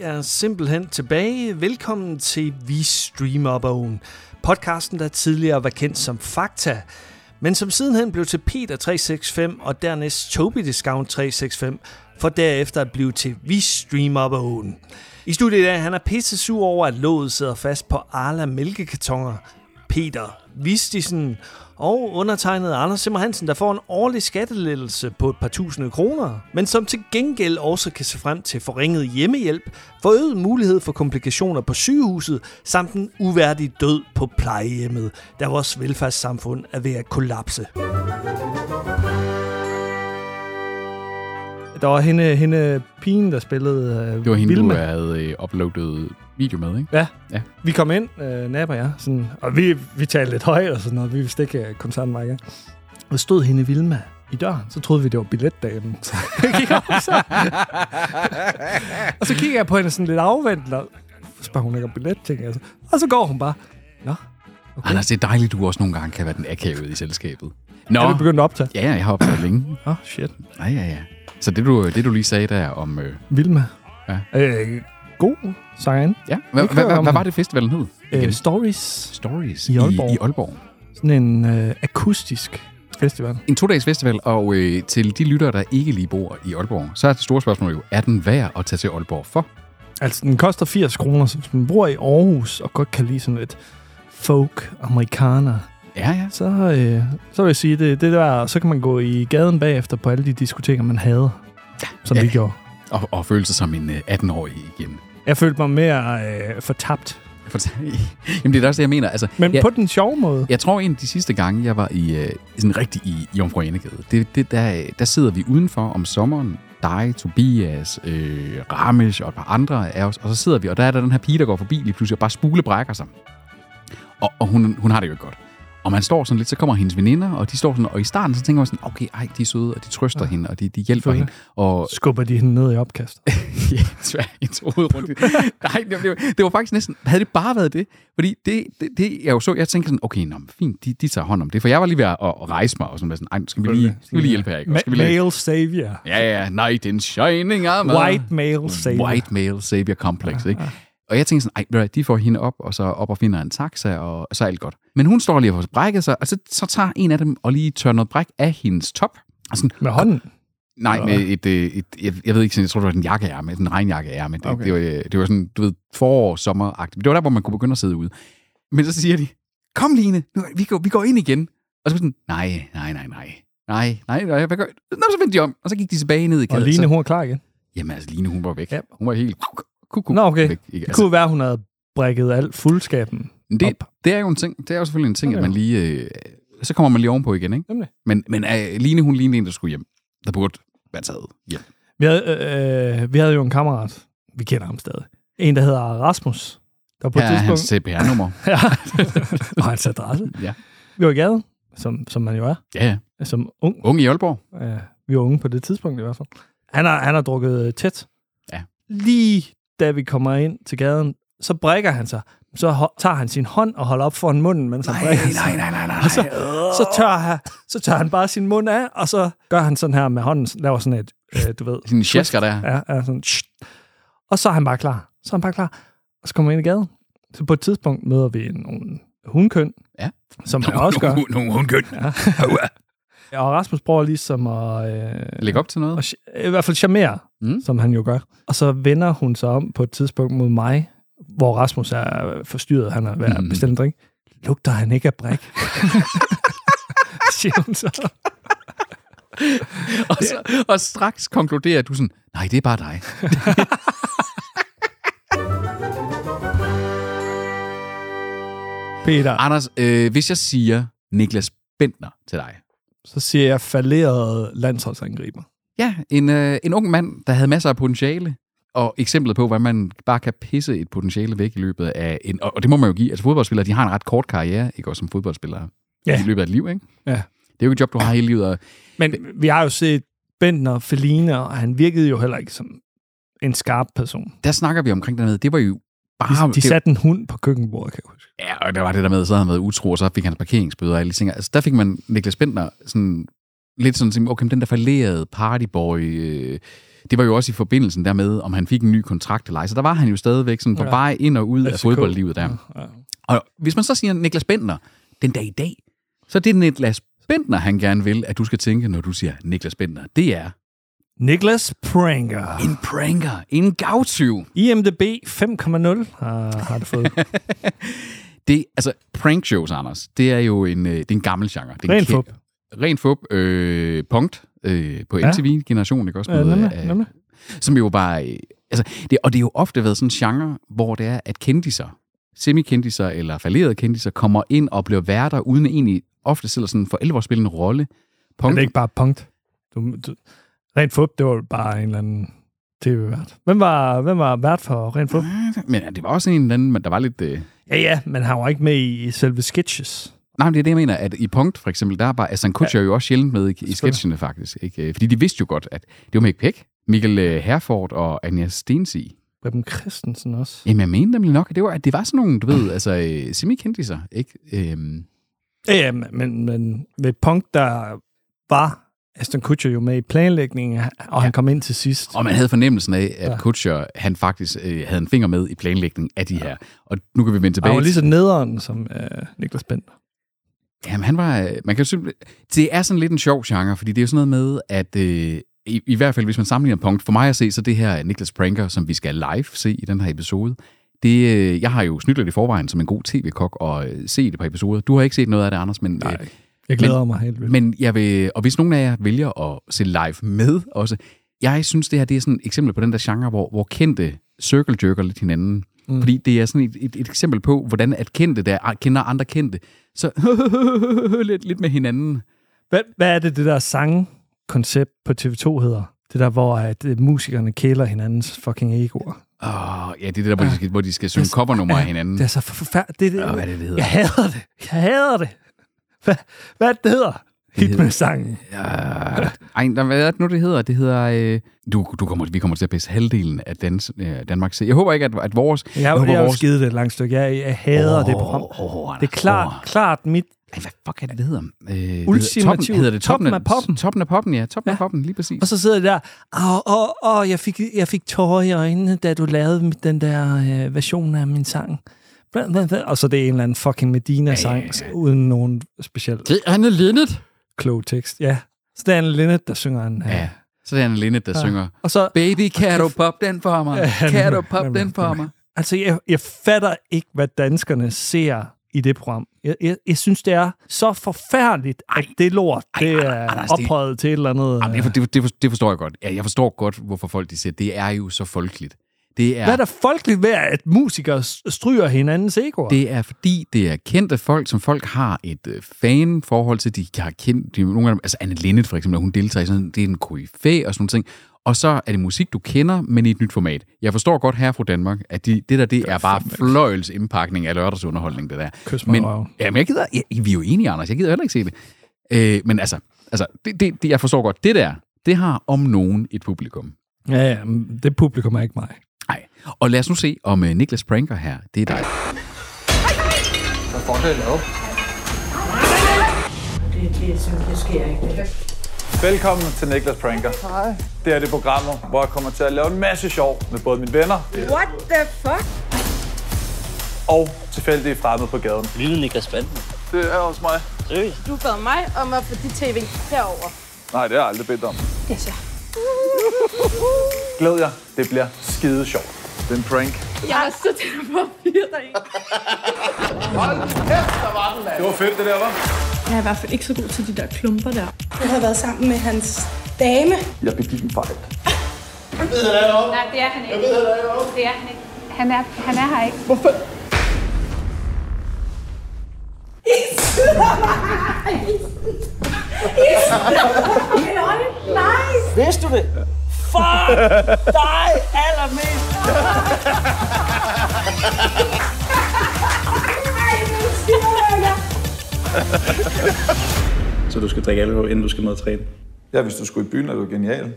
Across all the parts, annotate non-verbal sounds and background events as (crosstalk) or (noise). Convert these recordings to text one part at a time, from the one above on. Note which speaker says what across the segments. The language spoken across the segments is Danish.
Speaker 1: er simpelthen tilbage. Velkommen til Vi Streamer Bogen, podcasten, der tidligere var kendt som Fakta, men som sidenhen blev til Peter 365 og dernæst Toby Discount 365, for derefter at blive til Vi Streamer Bogen. I studiet i dag, han er pisse sur over, at låget sidder fast på Arla mælkekartoner, Peter Vistisen og undertegnet Anders Simmer Hansen, der får en årlig skattelettelse på et par tusinde kroner, men som til gengæld også kan se frem til forringet hjemmehjælp, forøget mulighed for komplikationer på sygehuset, samt en uværdig død på plejehjemmet, der vores velfærdssamfund er ved at kollapse. Der var hende, hende pigen, der spillede øh,
Speaker 2: Det var hende,
Speaker 1: Vilma.
Speaker 2: du havde øh, uploadet video med, ikke?
Speaker 1: Ja.
Speaker 2: Ja.
Speaker 1: Vi kom ind, øh, Nab og jeg, sådan, og vi, vi talte lidt højt og sådan noget. Vi vidste ikke, øh, at koncerten var i gang. Og så stod hende Vilma i døren, så troede vi, det var billetdamen. (laughs) Så jeg gik op, så. og så kigger jeg på hende sådan lidt afvendt, og så spørger hun ikke om billet, tænker jeg. Så. Og så går hun bare. Nå, okay.
Speaker 2: Anders, det er dejligt, du også nogle gange kan være den akavede i selskabet. Nå,
Speaker 1: Er vi begyndt at optage?
Speaker 2: ja, ja, jeg har optaget længe.
Speaker 1: Åh, oh, shit.
Speaker 2: Nej, ja, ja. Så det du, øh, det, du lige sagde der om... Øh,
Speaker 1: Vilma.
Speaker 2: Ja.
Speaker 1: Øh, god sangerinde.
Speaker 2: ja, hvad,
Speaker 1: Ikke
Speaker 2: hvad,
Speaker 1: om-
Speaker 2: hvad, hvad var det festivalen hed?
Speaker 1: Øh,
Speaker 2: Igen?
Speaker 1: stories.
Speaker 2: Stories
Speaker 1: i Aalborg.
Speaker 2: I, i Aalborg.
Speaker 1: Sådan en øh, akustisk festival.
Speaker 2: En to-dages festival, og øh, til de lyttere, der ikke lige bor i Aalborg, så er det store spørgsmål jo, er den værd at tage til Aalborg for?
Speaker 1: Altså, den koster 80 kroner, så hvis man bor i Aarhus og godt kan lide sådan lidt folk amerikaner,
Speaker 2: Ja, ja.
Speaker 1: så, øh, så vil jeg sige, det, det der, så kan man gå i gaden bagefter på alle de diskoteker, man havde, som ja.
Speaker 2: Ja.
Speaker 1: vi gjorde.
Speaker 2: Og, og føle sig som en øh, 18-årig igen.
Speaker 1: Jeg følte mig mere øh, fortabt,
Speaker 2: For, jamen, det er da også det, jeg mener. Altså,
Speaker 1: men ja.
Speaker 2: jeg,
Speaker 1: på den sjove måde.
Speaker 2: Jeg tror en af de sidste gange, jeg var i øh, sådan rigtig i Jomfru Anegade, det, det, der, øh, der sidder vi udenfor om sommeren, dig, Tobias, øh, Ramesh og et par andre af os, og så sidder vi, og der er der den her pige, der går forbi lige pludselig og bare spulebrækker sig. Og, og hun, hun har det jo ikke godt. Og man står sådan lidt, så kommer hendes veninder, og de står sådan, og i starten så tænker man sådan, okay, ej, de er søde, og de trøster ja. hende, og de, de hjælper hende.
Speaker 1: Selvfølgelig.
Speaker 2: Og
Speaker 1: Skubber de hende ned i opkast.
Speaker 2: Ja, tvær hendes hovedrunde. Nej, det, det, det var faktisk næsten... Havde det bare været det? Fordi det, det, det jeg jo så, jeg tænkte sådan, okay, nå, men fint, de, de tager hånd om det. For jeg var lige ved at, at rejse mig og sådan, være sådan, ej, nu skal vi lige, skal vi lige hjælpe her, ikke? Og Skal vi
Speaker 1: Ma-
Speaker 2: lige,
Speaker 1: male savior.
Speaker 2: ja, ja, nej, den shining armor.
Speaker 1: White male savior.
Speaker 2: White male savior complex, ikke? Og jeg tænkte sådan, ej, ved du hvad, de får hende op, og så op og finder en taxa, og så er alt godt. Men hun står lige og får brækket sig, og så, så tager en af dem og lige tør noget bræk af hendes top. Og sådan,
Speaker 1: Med hånden.
Speaker 2: Nej, med et, øh, et, jeg, jeg ved ikke, sådan- jeg tror, det var en jakkeærme, en regnjakkeærme. Det, okay. det, var, øh, det var sådan, du ved, forår, sommeragtigt. Det var der, hvor man kunne begynde at sidde ude. Men så siger de, kom Line, nu, vi, går, vi går ind igen. Og så var sådan, nej, nej, nej, nej. Nej, nej, nej, hvad gør Nå, så vendte de om, og så gik de tilbage ned i
Speaker 1: Og
Speaker 2: kæden.
Speaker 1: Line,
Speaker 2: så,
Speaker 1: hun er klar igen.
Speaker 2: jamen altså, Line, hun var væk.
Speaker 1: Ja.
Speaker 2: Hun var helt... Kuk, kuk,
Speaker 1: Nå, okay.
Speaker 2: Væk, ikke?
Speaker 1: Det
Speaker 2: Altså,
Speaker 1: kunne være, hun havde brækket alt fuldskaben.
Speaker 2: det, det, er jo en ting, det er jo selvfølgelig en ting,
Speaker 1: Okay.
Speaker 2: at man lige... Øh, så kommer man lige ovenpå igen, ikke?
Speaker 1: Nemlig.
Speaker 2: Men, men øh, Line, hun lignede en, der skulle hjem. Der burde være taget hjem.
Speaker 1: Vi havde, øh, øh, vi havde jo en kammerat, vi kender ham stadig. En, der hedder Rasmus. Der på et
Speaker 2: Her er hans
Speaker 1: tidspunkt...
Speaker 2: CPR-nummer.
Speaker 1: (laughs) Ja, og hans adresse.
Speaker 2: Ja.
Speaker 1: Vi var i gaden, som, som man jo er,
Speaker 2: Ja, ja.
Speaker 1: som ung.
Speaker 2: Unge i Aalborg.
Speaker 1: Øh, vi var unge på det tidspunkt i hvert fald. Han har, han har drukket øh, tæt.
Speaker 2: Ja.
Speaker 1: Lige da vi kommer ind til gaden, så brækker han sig. Så ho- tager han sin hånd og holder op foran munden, mens han brækker sig.
Speaker 2: nej, nej, nej.
Speaker 1: Og så, så, tør han, så tør han bare sin mund af, og så gør han sådan her med hånden, laver sådan et, øh, du ved,
Speaker 2: Din sjasker der.
Speaker 1: Ja, ja sådan, "Shh." Og så er han bare klar. Så er han bare klar. Og så kommer han ind i gaden. Så på et tidspunkt møder vi en- nogle hundkøn,
Speaker 2: Ja.
Speaker 1: som han også gør.
Speaker 2: (laughs) Nogle hundkøn.
Speaker 1: Og Rasmus prøver ligesom at, øh,
Speaker 2: Læg op til noget.
Speaker 1: at ch- i hvert fald charmere, mm.
Speaker 2: Mm.
Speaker 1: som han jo gør. Og så vender hun sig om på et tidspunkt mod mig, hvor Rasmus er forstyrret. Han er ved at
Speaker 2: Mhm.
Speaker 1: bestille en drink. Lugter han ikke af bræk? (laughs) siger hun så.
Speaker 2: Og, så, og straks konkluderer du sådan, nej, det er bare dig.
Speaker 1: Peter,
Speaker 2: Anders, øh, hvis jeg siger Niklas Bentner til dig.
Speaker 1: så siger jeg falderet landsholdsangriber.
Speaker 2: Ja, en, øh, en ung mand, der havde masser af potentiale. Og eksemplet på, hvordan man bare kan pisse et potentiale væk i løbet af en... Og, og det må man jo give. Altså fodboldspillere, de har en ret kort karriere, ikke også som fodboldspillere.
Speaker 1: Ja.
Speaker 2: I løbet af et liv, ikke?
Speaker 1: Ja.
Speaker 2: Det er jo et job, du har hele livet. Og,
Speaker 1: Men vi har jo set Bentner, Feline, og han virkede jo heller ikke som en skarp person.
Speaker 2: der snakker vi omkring dernede. Det var jo bare...
Speaker 1: De, de
Speaker 2: det-
Speaker 1: satte en hund på køkkenbordet, kan jeg huske.
Speaker 2: Ja, og der var det der med, så havde han været utro, og så fik han parkeringsbøder og alle de ting. Altså, der fik man Niklas Bentner sådan lidt sådan, tænkte, okay, men den der falderede partyboy, øh, det var jo også i forbindelsen dermed, om han fik en ny kontrakt eller ej. Så der var han jo stadigvæk sådan på
Speaker 1: Ja.
Speaker 2: vej ind og ud af
Speaker 1: FCK.
Speaker 2: fodboldlivet der.
Speaker 1: Ja.
Speaker 2: Og hvis man så siger Niklas Bentner den dag i dag, så er det Niklas Bentner, han gerne vil, at du skal tænke, når du siger Niklas Bentner. Det er
Speaker 1: Niklas Pranger.
Speaker 2: en pranker, en gavtyv.
Speaker 1: IMDB 5,0 har, øh, har det
Speaker 2: (laughs)
Speaker 1: fået.
Speaker 2: Det, altså, prank shows, Anders, det er jo en, øh, det er en gammel genre. Det er en
Speaker 1: Ren
Speaker 2: kæ-
Speaker 1: fup.
Speaker 2: Ren fup. Øh, punkt øh, på
Speaker 1: Ja.
Speaker 2: MTV-generationen, ikke også?
Speaker 1: Ja,
Speaker 2: Noget øh,
Speaker 1: nemlig,
Speaker 2: af-
Speaker 1: nemlig.
Speaker 2: Som jo bare... Øh, altså, det, og det er jo ofte været sådan en genre, hvor det er, at kendiser, semikendiser eller falderede kendiser, kommer ind og bliver værter, uden egentlig ofte selv at sådan for alvor spille en rolle.
Speaker 1: Men
Speaker 2: Punkt.
Speaker 1: det er ikke bare punkt. Du, du, rent fup, det var bare en eller anden tv-vært. Hvem var, hvem var vært for rent fup?
Speaker 2: Men ja, det var også en eller anden, men der var lidt... Øh,
Speaker 1: Ja, ja, men han var ikke med i, i selve sketches.
Speaker 2: Nej, men det er det, jeg mener, at i Punkt for eksempel, der er bare, altså han Kutcher ja. jo også sjældent med i, i sketchene faktisk, ikke? Øh, fordi de vidste jo godt, at det var Mick Peck, Mikkel øh, Herford og Anja Stensi.
Speaker 1: Preben Christensen også.
Speaker 2: Jamen jeg mener nemlig nok, at det var, at det var sådan nogle, du
Speaker 1: (laughs)
Speaker 2: ved, altså øh, semikendiser, ikke? Øhm,
Speaker 1: Ja, ja men, men ved punkt, der var Aston Kutcher jo med i planlægningen, og han kom ind til sidst.
Speaker 2: og man havde fornemmelsen af, at
Speaker 1: Ja.
Speaker 2: ja. Kutcher, han faktisk øh, havde en finger med i planlægningen af de her. Og nu kan vi
Speaker 1: Og
Speaker 2: vende
Speaker 1: ligesom
Speaker 2: tilbage.
Speaker 1: han var lige så nederen som øh, Niklas Bender.
Speaker 2: Jamen, han var... øh, Man kan jo simpelthen, det er sådan lidt en sjov genre, fordi det er jo sådan noget med, at... Øh, i, I hvert fald, hvis man sammenligner punkt, for mig at se, så det her Niklas Pranker, som vi skal live se i den her episode, det, øh, jeg har jo snydt lidt i forvejen som en god tv-kok og øh, set et par episoder. Du har ikke set noget af det, Anders, men, øh,
Speaker 1: Jeg glæder mig helt vildt.
Speaker 2: men jeg vil, og hvis nogen af jer vælger at se live med også, jeg synes, det her det er sådan et eksempel på den der genre, hvor, hvor kendte circle jerker lidt hinanden. Mm. Fordi det er sådan et, et, et, eksempel på, hvordan at kendte, der kender andre kendte, så (laughs) lidt, lidt med hinanden.
Speaker 1: Hvad, hvad er det, det der sangkoncept på TV2 hedder? Det der, hvor at øh, musikerne kæler hinandens fucking egoer.
Speaker 2: Åh, oh, ja, det er det der, hvor de skal, hvor de skal synge covernummer af hinanden.
Speaker 1: Det er så forfærdeligt. Det, det,
Speaker 2: Åh, hvad er det, det hedder?
Speaker 1: Jeg hader det. Jeg hader det. Hvad, hvad er det, det hedder? Hit med sangen.
Speaker 2: Ja. Ej, der, hvad er det nu, det hedder? Det hedder... Øh, du, du kommer, vi kommer til at pisse halvdelen af dans, øh, Danmarks... Jeg håber ikke, at, at vores...
Speaker 1: Jeg, jeg,
Speaker 2: håber,
Speaker 1: jeg har jo
Speaker 2: vores-
Speaker 1: skidt det et langt stykke. Jeg, jeg hader oh, det program.
Speaker 2: Åh, åh, Anders,
Speaker 1: Det er klart,
Speaker 2: åh.
Speaker 1: oh. klart mit...
Speaker 2: Ej, hvad fuck er det, det hedder? Øh, det hedder
Speaker 1: Ultimativ.
Speaker 2: toppen, hedder det toppen,
Speaker 1: Toppen af poppen.
Speaker 2: Toppen af poppen, ja. Toppen ja.
Speaker 1: Ja.
Speaker 2: af poppen, lige præcis.
Speaker 1: Og så sidder jeg der, åh, åh, åh, jeg fik, jeg fik tårer i øjnene, da du lavede mit- den der øh, version af min sang. Bla, bla, bla. Og så er det en eller anden fucking Medina-sang,
Speaker 2: Ja, ja, ja.
Speaker 1: uden nogen speciel
Speaker 2: Det er Anne Linnet.
Speaker 1: klog tekst. Ja, så det er Anne Linnet, der synger en... øh,
Speaker 2: Ja, så det er Anne Linnet, der ja. synger...
Speaker 1: Og så,
Speaker 2: Baby, kan du pop den for mig?
Speaker 1: Ja,
Speaker 2: Kan du
Speaker 1: nemlig,
Speaker 2: pop
Speaker 1: nemlig,
Speaker 2: den for
Speaker 1: nemlig.
Speaker 2: mig?
Speaker 1: Altså, jeg, jeg fatter ikke, hvad danskerne ser i det program. Jeg, jeg, jeg synes, det er så forfærdeligt, at det lort, det er
Speaker 2: Anders, det-
Speaker 1: ophøjet til et eller andet.
Speaker 2: Jamen, det, for, det, for- det, for, det forstår jeg godt. Ja, jeg forstår godt, hvorfor folk de siger, det er jo så folkeligt. Det
Speaker 1: Hvad er
Speaker 2: er,
Speaker 1: der folkeligt ved, at musikere s- stryger hinandens egoer?
Speaker 2: det er fordi, det er kendte folk, som folk har et øh, fan-forhold til. De har kendt, de, nogle af dem, altså Anne Linnet for eksempel, når hun deltager i sådan, det er en koryfæ og sådan nogle ting. Og så er det musik, du kender, men i et nyt format. Jeg forstår godt her fra Danmark, at de, det der, det er bare fløjels indpakning af lørdagsunderholdning, det der.
Speaker 1: Kys mig
Speaker 2: men,
Speaker 1: i røven.
Speaker 2: jamen, jeg gider, jeg, vi er jo enige, Anders, jeg gider heller ikke se det. Øh, men altså, altså det, det, det, jeg forstår godt, det der, det har om nogen et publikum.
Speaker 1: Ja, ja, men det publikum er ikke mig.
Speaker 2: Nej. Og lad os nu se, om øh, Niklas Pranker her, det er dig.
Speaker 3: Hvad får det lavet?
Speaker 4: Det, det, synes jeg sker ikke.
Speaker 3: Velkommen til Niklas Pranker. Hej. Det er det program, hvor jeg kommer til at lave en masse sjov med både mine venner
Speaker 5: What the fuck?
Speaker 3: og tilfældige fremmede på gaden.
Speaker 6: Lille Niklas Banden.
Speaker 3: Det er også mig.
Speaker 6: Seriøst?
Speaker 5: Du bad mig om at få dit tv herover.
Speaker 3: Nej, det har jeg aldrig bedt om.
Speaker 5: Yes, ja.
Speaker 3: Glæd jer, det bliver skide sjovt. Det er en prank.
Speaker 5: Jeg var så tæt på at fyre dig
Speaker 3: Det var fedt, det der, var.
Speaker 7: Jeg er i hvert fald ikke så god til de der klumper der.
Speaker 8: Jeg havde været sammen med hans dame.
Speaker 3: Jeg begik en fejl.
Speaker 9: Nej, det er han ikke. Jeg ved det ikke. Det er han ikke. Han er, han er her ikke.
Speaker 10: Så du skal drikke alkohol, inden du skal med at træne?
Speaker 3: Ja, hvis du skulle i byen, er du genial.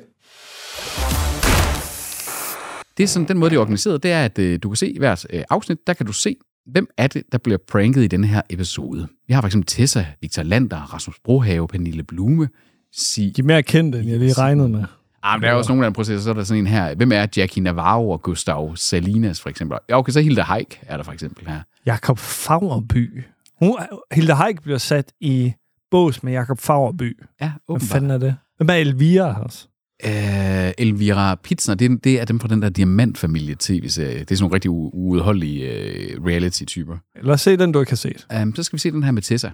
Speaker 2: Det er sådan, den måde, det er organiseret, det er, at øh, du kan se hvert øh, afsnit, der kan du se, hvem er det, der bliver pranket i denne her episode. Vi har for eksempel Tessa, Victor Lander, Rasmus Brohave, Pernille Blume, sige...
Speaker 1: De er mere kendte, end jeg lige regnede med.
Speaker 2: Ah, men der er også nogle af dem, prøv at se, så er der sådan en her. Hvem er Jackie Navarro og Gustav Salinas, for eksempel? Ja, okay, så Hilda Haik er der for eksempel her.
Speaker 1: Jakob Fagerby. Hun, Hilda Haik bliver sat i bås med Jakob Fagerby.
Speaker 2: Ja,
Speaker 1: Hvad
Speaker 2: åbenbart.
Speaker 1: fanden er det? Hvem er Elvira også?
Speaker 2: Øh, Elvira Pitzner, det, det er dem fra den der Diamantfamilie-tv-serie. Det er sådan nogle rigtig u- uudholdelige øh, reality-typer.
Speaker 1: Lad os se den, du ikke har set.
Speaker 2: Um, så skal vi se den her med Tessa,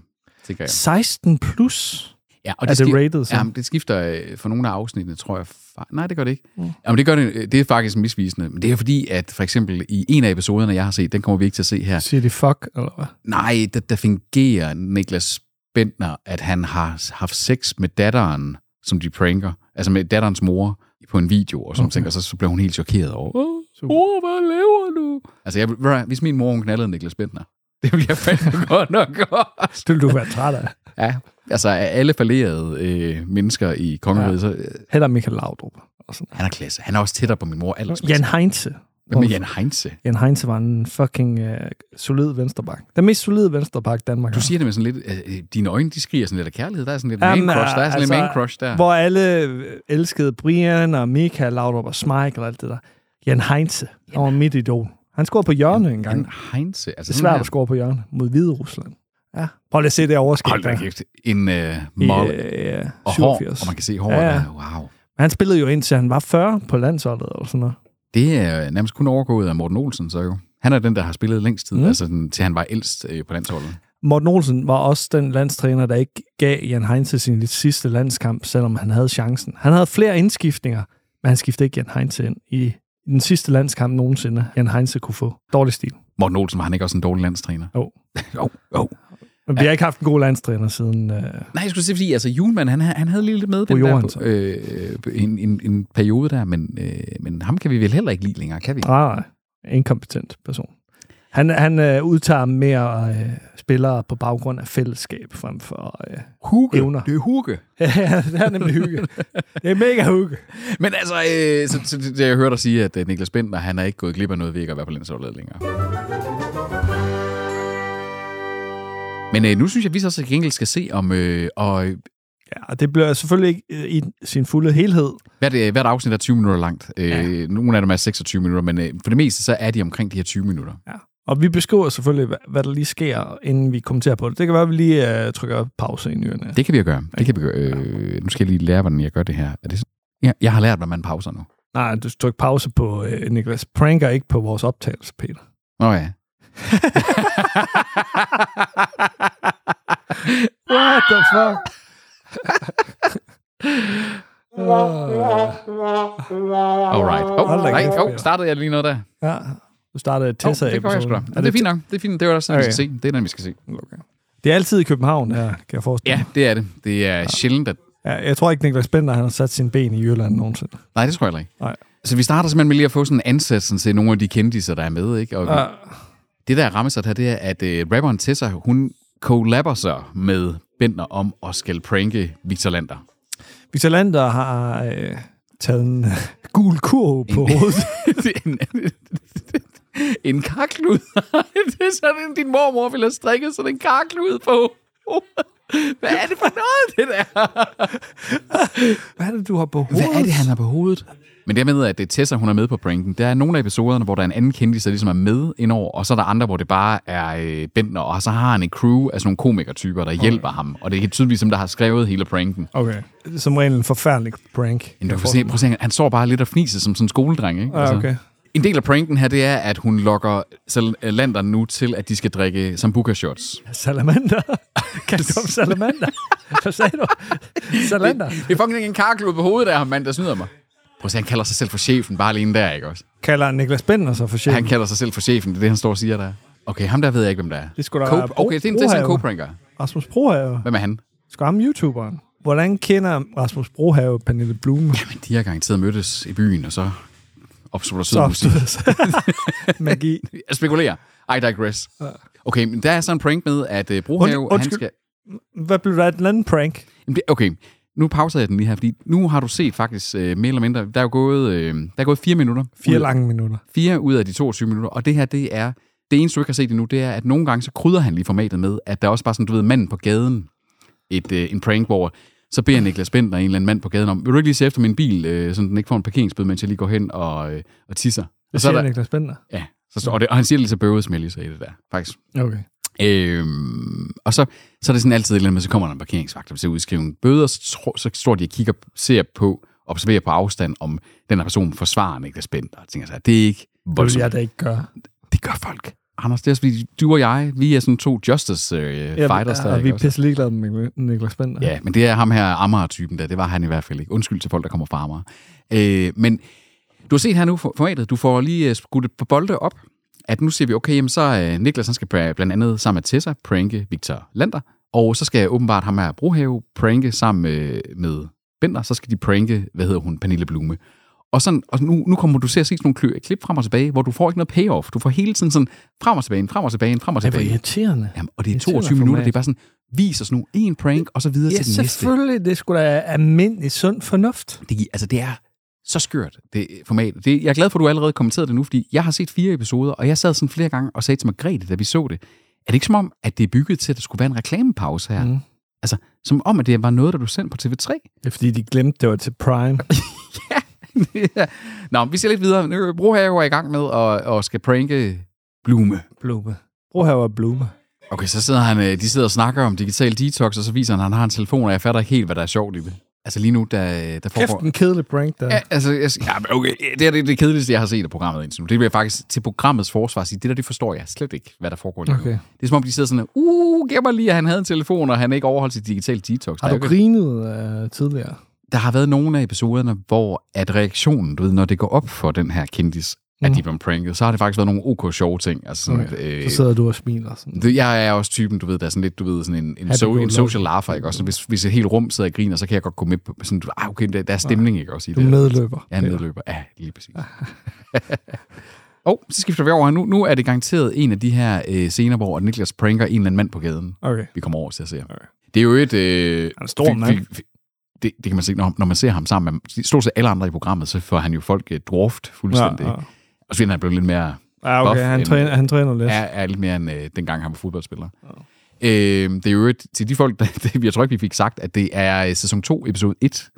Speaker 2: tænker jeg.
Speaker 1: 16 plus.
Speaker 2: Ja,
Speaker 1: Er det rated, så?
Speaker 2: Ja, det skifter øh, for nogle af afsnittene, tror jeg. fa- Nej, det gør det ikke. Mm. Jamen, det, gør det, øh, det er faktisk misvisende. Men det er fordi, at for eksempel i en af episoderne, jeg har set, den kommer vi ikke til at se her.
Speaker 1: Siger de fuck, eller hvad?
Speaker 2: Nej, der, der fungerer Niklas Bentner, at han har haft sex med datteren, som de pranker. Altså med datterens mor på en video, og sådan okay. ting, og så, så bliver hun helt chokeret over. Åh, mor, hvad laver du? Altså, jeg, vil- ved du hvad, hvis min mor hun knaldede Niklas Bentner, (laughs) det ville jeg fandme godt nok gøre.
Speaker 1: Det vil du være træt af.
Speaker 2: Ja, altså af alle fallerede øh, mennesker i kongeriget, ja. så øh,
Speaker 1: Heller Michael Laudrup. Og sådan.
Speaker 2: han er klasse. Han er også tættere på min mor aldersmæssigt.
Speaker 1: Jan Heinze.
Speaker 2: Hvad med Jan øh, Heinze?
Speaker 1: Jan Heinze var en fucking øh, solid vensterbak. Den mest solide vensterbak Danmark
Speaker 2: Du
Speaker 1: har.
Speaker 2: siger det med sådan lidt, øh, øh, dine øjne, de skriger sådan lidt af kærlighed. Der er sådan lidt
Speaker 1: Jamen,
Speaker 2: man crush, der er sådan lidt
Speaker 1: altså,
Speaker 2: man crush der.
Speaker 1: Hvor alle øh, elskede Brian og Michael Laudrup og Smike og alt det der. Jan Heinze. Han var mit idol. Han scorede på hjørne engang.
Speaker 2: Jan Heinze. Altså
Speaker 1: Det er
Speaker 2: sådan
Speaker 1: svært
Speaker 2: her.
Speaker 1: at score på hjørne mod Hvide Rusland. Ja. Prøv lige at se det overskæg
Speaker 2: Hold da
Speaker 1: der.
Speaker 2: kæft. En øh,
Speaker 1: I,
Speaker 2: mål
Speaker 1: øh,
Speaker 2: og hår,
Speaker 1: 87.
Speaker 2: og man kan se håret
Speaker 1: Ja, ja.
Speaker 2: ja. der. Wow.
Speaker 1: Han spillede jo indtil han var 40 på landsholdet eller sådan noget.
Speaker 2: Det er øh, nærmest kun overgået af Morten Olsen, så jo. Han er den, der har spillet længst tid,
Speaker 1: Mm.
Speaker 2: mm. altså den, til han var ældst øh, på landsholdet.
Speaker 1: Morten Olsen var også den landstræner, der ikke gav Jan Heinze sin sidste landskamp, selvom han havde chancen. Han havde flere indskiftninger, men han skiftede ikke Jan Heinze ind i den sidste landskamp nogensinde, Jan Heinze kunne få. Dårlig stil.
Speaker 2: Morten Olsen var han ikke også en dårlig landstræner?
Speaker 1: Jo.
Speaker 2: (laughs) jo, jo.
Speaker 1: Men vi har ikke haft en god landstræner siden... Øh,
Speaker 2: Nej, jeg skulle sige, fordi altså, Julemand, han, han havde lige lidt med
Speaker 1: Bo
Speaker 2: den der,
Speaker 1: Johansson.
Speaker 2: øh, øh, en, en, en periode der, men, øh, men ham kan vi vel heller ikke lide længere, kan vi?
Speaker 1: nej, nej, inkompetent person. Han, han øh, udtager mere øh, spillere på baggrund af fællesskab frem for... Øh, (laughs)
Speaker 2: Hugge.
Speaker 1: Evner.
Speaker 2: Det er Hugge.
Speaker 1: ja, det er nemlig hygge. Det er mega hygge.
Speaker 2: Men altså, øh, så, så, det, jeg hørte dig sige, at øh, Niklas Bentner, han er ikke gået glip af noget ved ikke at være på landsholdet længere. Men øh, nu synes jeg, at vi så til gengæld skal se om, øh, og øh,
Speaker 1: Ja, og det bliver selvfølgelig ikke øh, i sin fulde helhed.
Speaker 2: hvert, øh, hvert afsnit er 20 minutter langt. Øh, ja. Nogle af dem er 26 minutter, men øh, for det meste så er de omkring de her 20 minutter.
Speaker 1: Ja. Og vi beskriver selvfølgelig, hvad, hvad der lige sker, inden vi kommenterer på det. Det kan være, at vi lige øh, trykker pause i nyerne.
Speaker 2: Det kan vi jo gøre. Det kan vi gøre. Øh, nu skal jeg lige lære, hvordan jeg gør det her. Er det sådan? Ja, jeg har lært, hvordan man pauser nu.
Speaker 1: Nej, du trykker pause på øh, Niklas Pranker, ikke på vores optagelse, Peter.
Speaker 2: Nå ja.
Speaker 1: (laughs) What the fuck? uh,
Speaker 2: Alright.
Speaker 1: Hold da
Speaker 2: Oh, nej,
Speaker 1: kæft,
Speaker 2: oh,
Speaker 1: Peter.
Speaker 2: startede jeg lige noget der?
Speaker 1: ja, du startede
Speaker 2: Oh,
Speaker 1: tessa
Speaker 2: det gør jeg sgu da. Ja, det er fint nok. Det er fint. Det var også sådan, okay. vi skal se. Det er den, vi skal se.
Speaker 1: Okay. Det er altid i København, ja, kan jeg forestille
Speaker 2: Ja,
Speaker 1: mig.
Speaker 2: det er det. Det er sjældent, at...
Speaker 1: Ja, jeg tror ikke, Niklas Bender han har sat sine ben i Jylland nogensinde.
Speaker 2: Nej, det tror jeg heller ikke.
Speaker 1: Nej.
Speaker 2: Så vi starter simpelthen med lige at få sådan en ansatsen til nogle af de kendiser, der er med, ikke? Og
Speaker 1: Ja.
Speaker 2: det, der rammer sig her, det er, at øh, rapperen Tessa, hun collabber sig med Bentner om at skal pranke Victor Lander. (laughs)
Speaker 1: Victor Lander har øh, taget en øh, gul kurv på hovedet.
Speaker 2: en, (laughs) en karklud. (laughs) det er sådan, din mormor ville have strikket sådan en karklud på. (laughs) Hvad er det for noget, det der?
Speaker 1: Hvad er det, du har på hovedet?
Speaker 2: Hvad er det, han har på hovedet? Men det med, at det er Tessa, hun er med på pranken, der er nogle af episoderne, hvor der er en anden kendis, der ligesom er med indover, og så er der andre, hvor det bare er øh, Bentner, og så har han en crew af sådan nogle komikertyper, der hjælper ham, og det er tydeligvis dem, der har skrevet hele pranken.
Speaker 1: Okay. Som regel en forfærdelig prank.
Speaker 2: Men du
Speaker 1: Jeg
Speaker 2: kan se,
Speaker 1: forestiller
Speaker 2: prøv at se, han- han står bare lidt og fniser som sådan en skoledreng, ikke? Altså,
Speaker 1: mig. Ja, okay.
Speaker 2: En del af pranken her, det er, at hun lokker Sal- Lander nu til, at de skal drikke sambuca shots. (laughs)
Speaker 1: Salamander. Kan du om salamander? Hvad sagde du? Salander.
Speaker 2: Det er fucking ikke en karklud på hovedet af ham, mand, der snyder mig. Prøv at se, han kalder sig selv for chefen, bare alene der, ikke også?
Speaker 1: Kalder Niklas Bender sig for
Speaker 2: Han
Speaker 1: chefen?
Speaker 2: kalder sig selv for chefen, det er det, han står og siger der. Okay, ham der ved jeg ikke, hvem der er.
Speaker 1: Det skulle da
Speaker 2: Co-
Speaker 1: være Bro-
Speaker 2: Okay, det er, en- det er sådan en
Speaker 1: Brohave.
Speaker 2: co-pranker.
Speaker 1: Rasmus Brohave.
Speaker 2: Hvem er han?
Speaker 1: Skal ham YouTuberen? Hvordan kender Rasmus Brohave Pernille Blume?
Speaker 2: Jamen, de har garanteret mødtes i byen, og så opstod der
Speaker 1: Så
Speaker 2: sød musik.
Speaker 1: opstod (laughs) magi.
Speaker 2: Jeg spekulerer. I digress. Okay, men der er så en prank med, at uh, Brohave, han
Speaker 1: undskyld.
Speaker 2: skal...
Speaker 1: Hvad blev der den anden prank?
Speaker 2: Jamen, det- Okay, nu pauser jeg den lige her, fordi nu har du set faktisk øh, mere eller mindre, der er jo gået, øh, der er gået fire minutter.
Speaker 1: Fire
Speaker 2: ud,
Speaker 1: lange minutter.
Speaker 2: Fire ud af de 22 minutter, og det her, det er, det eneste du ikke har set endnu, det er, at nogle gange så krydder han lige formatet med, at der er også bare sådan, du ved, manden på gaden, et, øh, en prank, hvor Så beder Niklas Bentner en eller anden mand på gaden om, vil du ikke lige se efter min bil, øh, så den ikke får en parkeringsbøde, mens jeg lige går hen og, øh, og tisser.
Speaker 1: Det
Speaker 2: Og, så er
Speaker 1: siger
Speaker 2: der,
Speaker 1: Niklas Bender.
Speaker 2: ja, så, står- og, det, og han siger det lidt så bøvet smelly, så i det der, faktisk.
Speaker 1: Okay.
Speaker 2: Øhm, og så, så er det sådan altid et eller andet med, så kommer der en parkeringsvagt, der vil udskrive en bøde, og så, tror- så står de og kigger, ser på, observerer på afstand, om den her person forsvarer Niklas Bender. Og tænker sig, det er ikke
Speaker 1: Det vil
Speaker 2: voldsomt.
Speaker 1: jeg da ikke gøre.
Speaker 2: Det gør folk. Anders, det er også fordi, du og jeg, vi er sådan to justice øh, fighters.
Speaker 1: ja, og
Speaker 2: der,
Speaker 1: vi
Speaker 2: ikke
Speaker 1: er
Speaker 2: også?
Speaker 1: pisse ligeglade med Niklas Bender.
Speaker 2: Ja, men det er ham her Amager-typen der. Det var han i hvert fald ikke. Undskyld til folk, der kommer fra Amager. Øh, men du har set her nu for- formatet. Du får lige øh, skudt et par bolde op. At nu siger vi, okay, jamen så øh, Niklas han skal pra- blandt andet sammen med Tessa pranke Victor Lander. Og så skal åbenbart ham her Brohave pranke sammen med, med Bender. Så skal de pranke, hvad hedder hun, Pernille Blume. Og, sådan, og nu, nu kommer du til at se sådan nogle klø- klip frem og tilbage, hvor du får ikke noget payoff. Du får hele tiden sådan frem og tilbage, frem og tilbage, frem og
Speaker 1: Det var
Speaker 2: tilbage.
Speaker 1: irriterende.
Speaker 2: Jamen, og det er
Speaker 1: Irriterende
Speaker 2: 22 minutter,
Speaker 1: format.
Speaker 2: det er bare sådan, vis os nu en prank, og så videre
Speaker 1: Ja,
Speaker 2: til den næste.
Speaker 1: selvfølgelig. Det skulle da almindelig sund fornuft.
Speaker 2: Det, gi- altså, det er så skørt, det øh, format. Det, jeg er glad for, at du allerede kommenterede det nu, fordi jeg har set fire episoder, og jeg sad sådan flere gange og sagde til Margrethe, da vi så det, er det ikke som om, at det er bygget til, at der skulle være en reklamepause her?
Speaker 1: Mm.
Speaker 2: Mm. Altså, som om, at det var noget, der du sendte på TV3.
Speaker 1: Det er fordi, de glemte, det var til (laughs) Prime.
Speaker 2: ja. (laughs) Nå, vi ser lidt videre. Nu er Brohave er i gang med at, og skal pranke Blume.
Speaker 1: Blume. Brug her var Blume.
Speaker 2: Okay, så sidder han, øh, de sidder og snakker om digital detox, og så viser han, at han har en telefon, og jeg fatter ikke helt, hvad der er sjovt i det. Altså lige nu, der, der
Speaker 1: Kæft,
Speaker 2: foregår...
Speaker 1: en kedelig prank der.
Speaker 2: Ja, altså, jeg, ja, men okay, det her det er det kedeligste, jeg har set af programmet indtil nu. Det vil jeg faktisk til programmets forsvar sige. Det der, det forstår jeg slet ikke, hvad der foregår lige nu.
Speaker 1: Okay.
Speaker 2: Det er som om, de sidder sådan, uh, gemmer lige, at han havde en telefon, og han ikke overholdt sit digitale detox.
Speaker 1: Har
Speaker 2: Der er
Speaker 1: du
Speaker 2: jo ikke-
Speaker 1: grinet uh, tidligere?
Speaker 2: der har været nogle af episoderne, hvor at reaktionen, du ved, når det går op for den her kendis, at
Speaker 1: Mhm.
Speaker 2: de bliver pranket, så har det faktisk været nogle ok sjove ting. Altså sådan, okay. at,
Speaker 1: Så
Speaker 2: øh,
Speaker 1: sidder du og smiler. Sådan.
Speaker 2: det- jeg er også typen, du ved, der er sådan lidt, du ved, sådan en, en,
Speaker 1: Happy
Speaker 2: so,
Speaker 1: go
Speaker 2: en
Speaker 1: lucky.
Speaker 2: social laugher, ikke også? Så Hvis, hvis et helt rum sidder og griner, så kan jeg godt gå med på, sådan, du- ah, okay, der, der er stemning, ikke også? I
Speaker 1: Du
Speaker 2: det.
Speaker 1: medløber.
Speaker 2: Ja, en medløber. Ja, lige præcis. (laughs) og så skifter vi over. Nu, nu er det garanteret en af de her øh, scener, hvor Niklas pranker en eller anden mand på gaden.
Speaker 1: Okay.
Speaker 2: Vi kommer over til at se ham.
Speaker 1: Okay.
Speaker 2: Det er jo et... Øh,
Speaker 1: er en stor
Speaker 2: fi-
Speaker 1: mand.
Speaker 2: fi- fi- det, det kan man se, når, når man ser ham sammen med stort set alle andre i programmet, så får han jo folk øh, dwarft fuldstændig. Ja, ja. Og så er han blevet lidt mere...
Speaker 1: ja okay.
Speaker 2: Buff,
Speaker 1: Han
Speaker 2: en-
Speaker 1: træner, han træner lidt.
Speaker 2: Er, er lidt mere end øh, dengang han var fodboldspiller. Øh, det er jo et, til de folk, der, (laughs) det, jeg tror ikke, vi fik sagt, at det er øh, sæson 2, episode (laughs) 1.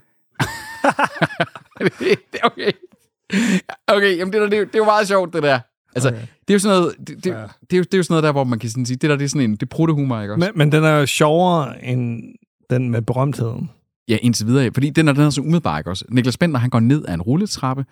Speaker 2: okay. Okay, jamen det, der, det, er jo- det er jo meget sjovt, det der. Altså, okay. det er jo sådan noget, det, det, ja. det, er jo, det er jo sådan noget der, hvor man kan sådan sige, det der, det er sådan en, det er prutehumor, ikke også?
Speaker 1: Men, men den er jo sjovere end den med berømtheden.
Speaker 2: Ja, indtil videre. Fordi den er, den er så umiddelbar, ikke også? Niklas Bender, han går ned ad en rulletrappe.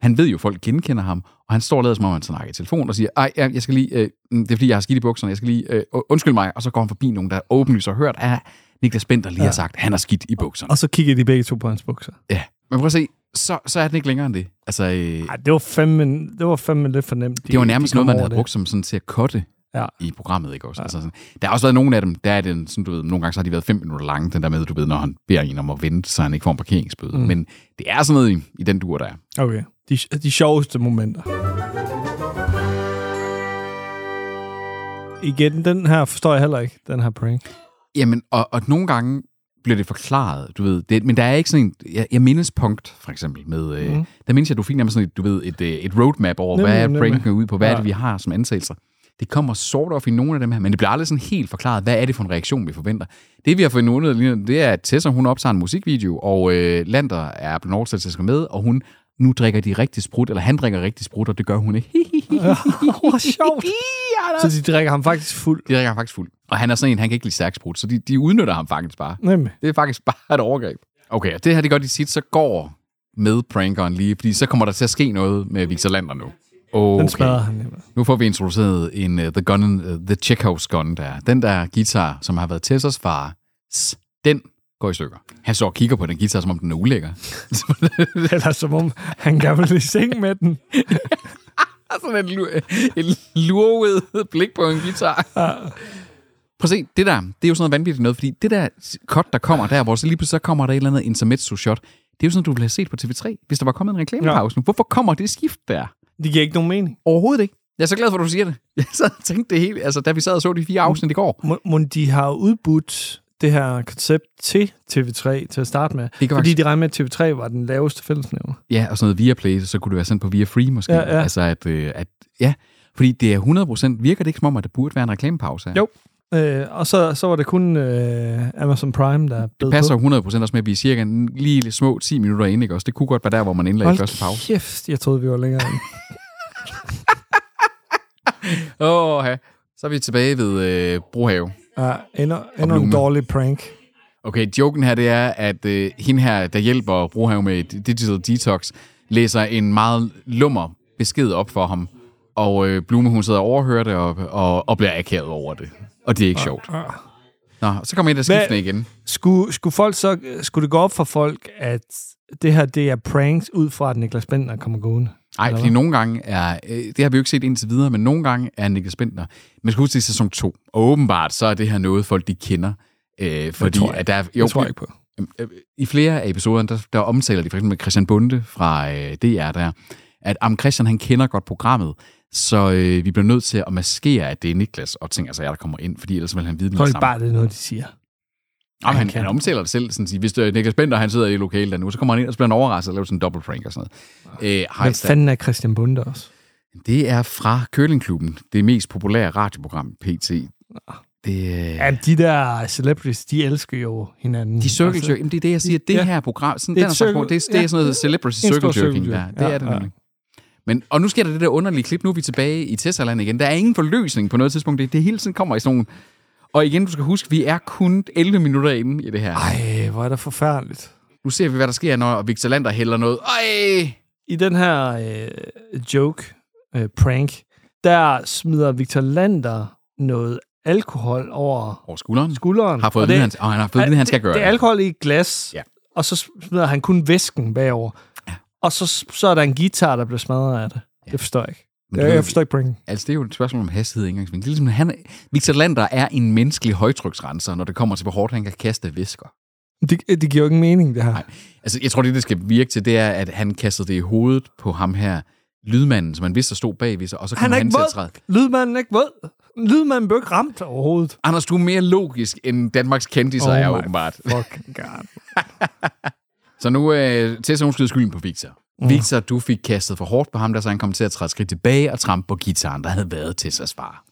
Speaker 2: Han ved jo, at folk genkender ham, og han står og lader, som om han snakker i telefon og siger, ej, ja, jeg skal lige, øh, mm, det er fordi, jeg har skidt i bukserne, jeg skal lige, øh, u- undskyld mig. Og så går han forbi nogen, der åbenlyst har hørt, at Niklas Bender lige ja. har sagt, han har skidt i bukserne.
Speaker 1: Og så kigger de begge to på hans bukser.
Speaker 2: Ja. Men prøv at se, så, så er den ikke længere end det. Altså, øh,
Speaker 1: Ej, det var fandme, det var fandme lidt for nemt.
Speaker 2: det var nærmest noget,
Speaker 1: kom
Speaker 2: man
Speaker 1: over
Speaker 2: havde brugt som sådan til at kotte
Speaker 1: Ja.
Speaker 2: ja. i programmet, ikke også? Ja. Altså, sådan- der har også været nogle af dem, der er den, sådan, du ved, nogle gange så har de været fem minutter lange, den der med, du ved, når han beder en om at vente, så han ikke får en parkeringsbøde. Mm. Men det er sådan noget i, i den dur, der er.
Speaker 1: Okay. De, de sjoveste momenter. Igen, den her forstår jeg heller ikke, den her prank.
Speaker 2: Jamen, og, og nogle gange bliver det forklaret, du ved. Det, men der er ikke sådan en... Jeg, jeg mindes punkt, for eksempel, med... Øh, mm. Der mindes jeg, du fik nærmest sådan et, du ved, et, øh, et roadmap over,
Speaker 1: Mhm. Nemlig,
Speaker 2: hvad er
Speaker 1: nemlig.
Speaker 2: breaking ud på, hvad ja.
Speaker 1: Ja.
Speaker 2: er det, vi har som antagelser. Det kommer sort of i nogle af dem her, men det bliver aldrig sådan helt forklaret, hvad er det for en reaktion, vi forventer. Det, vi har fundet ud af lige nu, det er, at Tessa, hun optager en musikvideo, og øh, Lander er blevet oversat til at skal med, og hun nu drikker de rigtig sprut, eller han drikker rigtig sprut, og det gør hun ikke.
Speaker 1: (laughs) Hvor sjovt.
Speaker 2: Anders.
Speaker 1: Så de drikker ham faktisk fuld.
Speaker 2: de drikker faktisk fuld. Og han er sådan en, han kan ikke lide stærk sprut, så de, de udnytter ham faktisk bare.
Speaker 1: Nemlig.
Speaker 2: Det er faktisk (laughs) bare et overgreb. Okay, og det her det gør de tit, så går med prankeren lige, fordi så kommer der til at ske noget med Victor Lander nu.
Speaker 1: Den smadrer
Speaker 2: Okay.
Speaker 1: han nemlig.
Speaker 2: Nu får vi introduceret en uh, The Gun, uh, The Chekhov's Gun der. Den der guitar, som har været Tessers far, s- den går i stykker. Han står og kigger på den guitar, som om den er ulækker. (laughs)
Speaker 1: Eller som om han gerne vil i seng med den.
Speaker 2: (laughs) sådan en, lu- en lurvet blik på en guitar. Prøv at se, det der, det er jo sådan noget vanvittigt noget, fordi det der cut, der kommer der, hvor så lige pludselig så kommer der et eller andet intermezzo-shot, det er jo sådan, du ville have set på TV3, hvis der var kommet en reklamepause nu. Hvorfor kommer det skift der?
Speaker 1: Det giver ikke nogen mening.
Speaker 2: Overhovedet ikke. Jeg er så glad for, at du siger det. (laughs) Jeg sad og tænkte det hele, altså da vi sad og så de fire afsnit i går.
Speaker 1: Må, må de har udbudt det her koncept til TV3 til at starte med.
Speaker 2: kan
Speaker 1: fordi
Speaker 2: faktisk-
Speaker 1: de regnede med, at TV3 var den laveste fællesnævner.
Speaker 2: Ja, og sådan noget via Play, så kunne det være sendt på via Free måske.
Speaker 1: Ja, ja.
Speaker 2: Altså at, øh, at, ja, fordi det er 100%, virker det ikke som om, at der burde være en reklamepause her?
Speaker 1: Jo. Øh, og så, så var det kun øh, Amazon Prime, der blev
Speaker 2: Det passer jo 100% også med at blive cirka en- lige lidt små 10 minutter ind, ikke også? Det kunne godt være der, hvor man indlagde første pause.
Speaker 1: Hold kæft, jeg troede, vi var længere (laughs) end.
Speaker 2: Åh, oh, ja. Så er vi tilbage ved øh, Brohave.
Speaker 1: Ja, endnu, endnu en
Speaker 2: Blume.
Speaker 1: dårlig prank.
Speaker 2: Okay, joken her, det er, at øh, hende her, der hjælper Brohave med Digital Detox, læser en meget lummer besked op for ham. Og øh, Blume, hun sidder og overhører det og, og, og bliver akavet over det. Og det er ikke sjovt. Nå, så kommer en der skiftende igen.
Speaker 1: Skulle, skulle, folk så, skulle det gå op for folk, at det her det er pranks ud fra, at Niklas Bender kommer gående?
Speaker 2: Nej, fordi nogle gange er, øh, det har vi jo ikke set indtil videre, men nogle gange er Niklas Bender, man skal huske det er sæson 2, og åbenbart så er det her noget, folk de kender. Øh, fordi
Speaker 1: tror jeg
Speaker 2: at der, er-
Speaker 1: Det tror jeg ikke på.
Speaker 2: øh, I flere af episoderne, der, der omtaler de for eksempel Christian Bunde fra øh, DR der, at om Christian han kender godt programmet, så øh, vi bliver nødt til at maskere, at det er Niklas og ting, altså jeg, der kommer ind, fordi ellers vil han vide det
Speaker 1: Tror
Speaker 2: med det
Speaker 1: ikke
Speaker 2: samme.
Speaker 1: bare, det er noget, de siger.
Speaker 2: Jamen, han,
Speaker 1: kan.
Speaker 2: han omtaler det selv, sådan at sige, hvis øh, det er Niklas Bender, han sidder i lokalet der nu, så kommer han ind, og så bliver han overrasket og laver sådan en double prank og sådan
Speaker 1: Ah.
Speaker 2: noget. Øh, hej,
Speaker 1: Hvem
Speaker 2: Stan.
Speaker 1: fanden er Christian Bunde også?
Speaker 2: Det er fra Curlingklubben, det mest populære radioprogram, PT.
Speaker 1: Ah.
Speaker 2: Det, øh,
Speaker 1: Ja, de der celebrities, de elsker jo hinanden.
Speaker 2: de circle
Speaker 1: Altså,
Speaker 2: jerk, jamen det er det, jeg siger. Det
Speaker 1: Ja.
Speaker 2: ja. her program, sådan,
Speaker 1: Det er
Speaker 2: det, er den
Speaker 1: et
Speaker 2: slags,
Speaker 1: circle-
Speaker 2: det, er- det
Speaker 1: ja.
Speaker 2: er sådan noget celebrity
Speaker 1: En stor
Speaker 2: circle jerking
Speaker 1: circle
Speaker 2: der.
Speaker 1: jerk.
Speaker 2: Det
Speaker 1: Ja,
Speaker 2: er det
Speaker 1: ja.
Speaker 2: nemlig. Men, og nu sker der det der underlige klip. Nu er vi tilbage i Tessaland igen. Der er ingen forløsning på noget tidspunkt. Det, det hele tiden kommer i sådan nogle... Og igen, du skal huske, vi er kun 11 minutter inde i det her.
Speaker 1: Ej, hvor er det forfærdeligt.
Speaker 2: Nu ser vi, hvad der sker, når Victor Lander hælder noget. Ej!
Speaker 1: I den her øh, joke, øh, prank, der smider Victor Lander noget alkohol over
Speaker 2: Over skulderen.
Speaker 1: skulderen.
Speaker 2: Har fået
Speaker 1: Og
Speaker 2: at
Speaker 1: det-
Speaker 2: vide, han, og han har fået at vide, han skal gøre
Speaker 1: Det er alkohol i et glas,
Speaker 2: Ja.
Speaker 1: og så smider han kun væsken bagover. Og så, så er der en guitar, der bliver smadret af det. Det forstår jeg ikke.
Speaker 2: du
Speaker 1: Jeg,
Speaker 2: ved-
Speaker 1: jeg forstår ikke pranken.
Speaker 2: Altså, det er jo et spørgsmål om hastighed ikke engang. Det er ligesom, han, Victor Lander er en menneskelig højtryksrenser, når det kommer til, hvor hårdt han kan kaste væsker.
Speaker 1: Det, det giver jo ikke mening, det her. Nej.
Speaker 2: Altså, jeg tror, det, det skal virke til, det er, at han kastede det i hovedet på ham her, lydmanden, som han vidste, der stod bagved sig, og så kom
Speaker 1: Han
Speaker 2: han,
Speaker 1: er ikke
Speaker 2: til at
Speaker 1: våd.
Speaker 2: træde.
Speaker 1: Lydmanden er ikke våd. Lydmanden blev ikke ramt overhovedet.
Speaker 2: Anders, du er mere logisk, end Danmarks kendtiser
Speaker 1: Oh
Speaker 2: oh er
Speaker 1: my
Speaker 2: åbenbart.
Speaker 1: Fuck God.
Speaker 2: Så nu øh, Tessa, hun skyder skylden på Victor.
Speaker 1: Mm.
Speaker 2: Victor, du fik kastet for hårdt på ham, der så han kom til at træde et skridt tilbage og trampe på gitaren, der havde været Tessas far.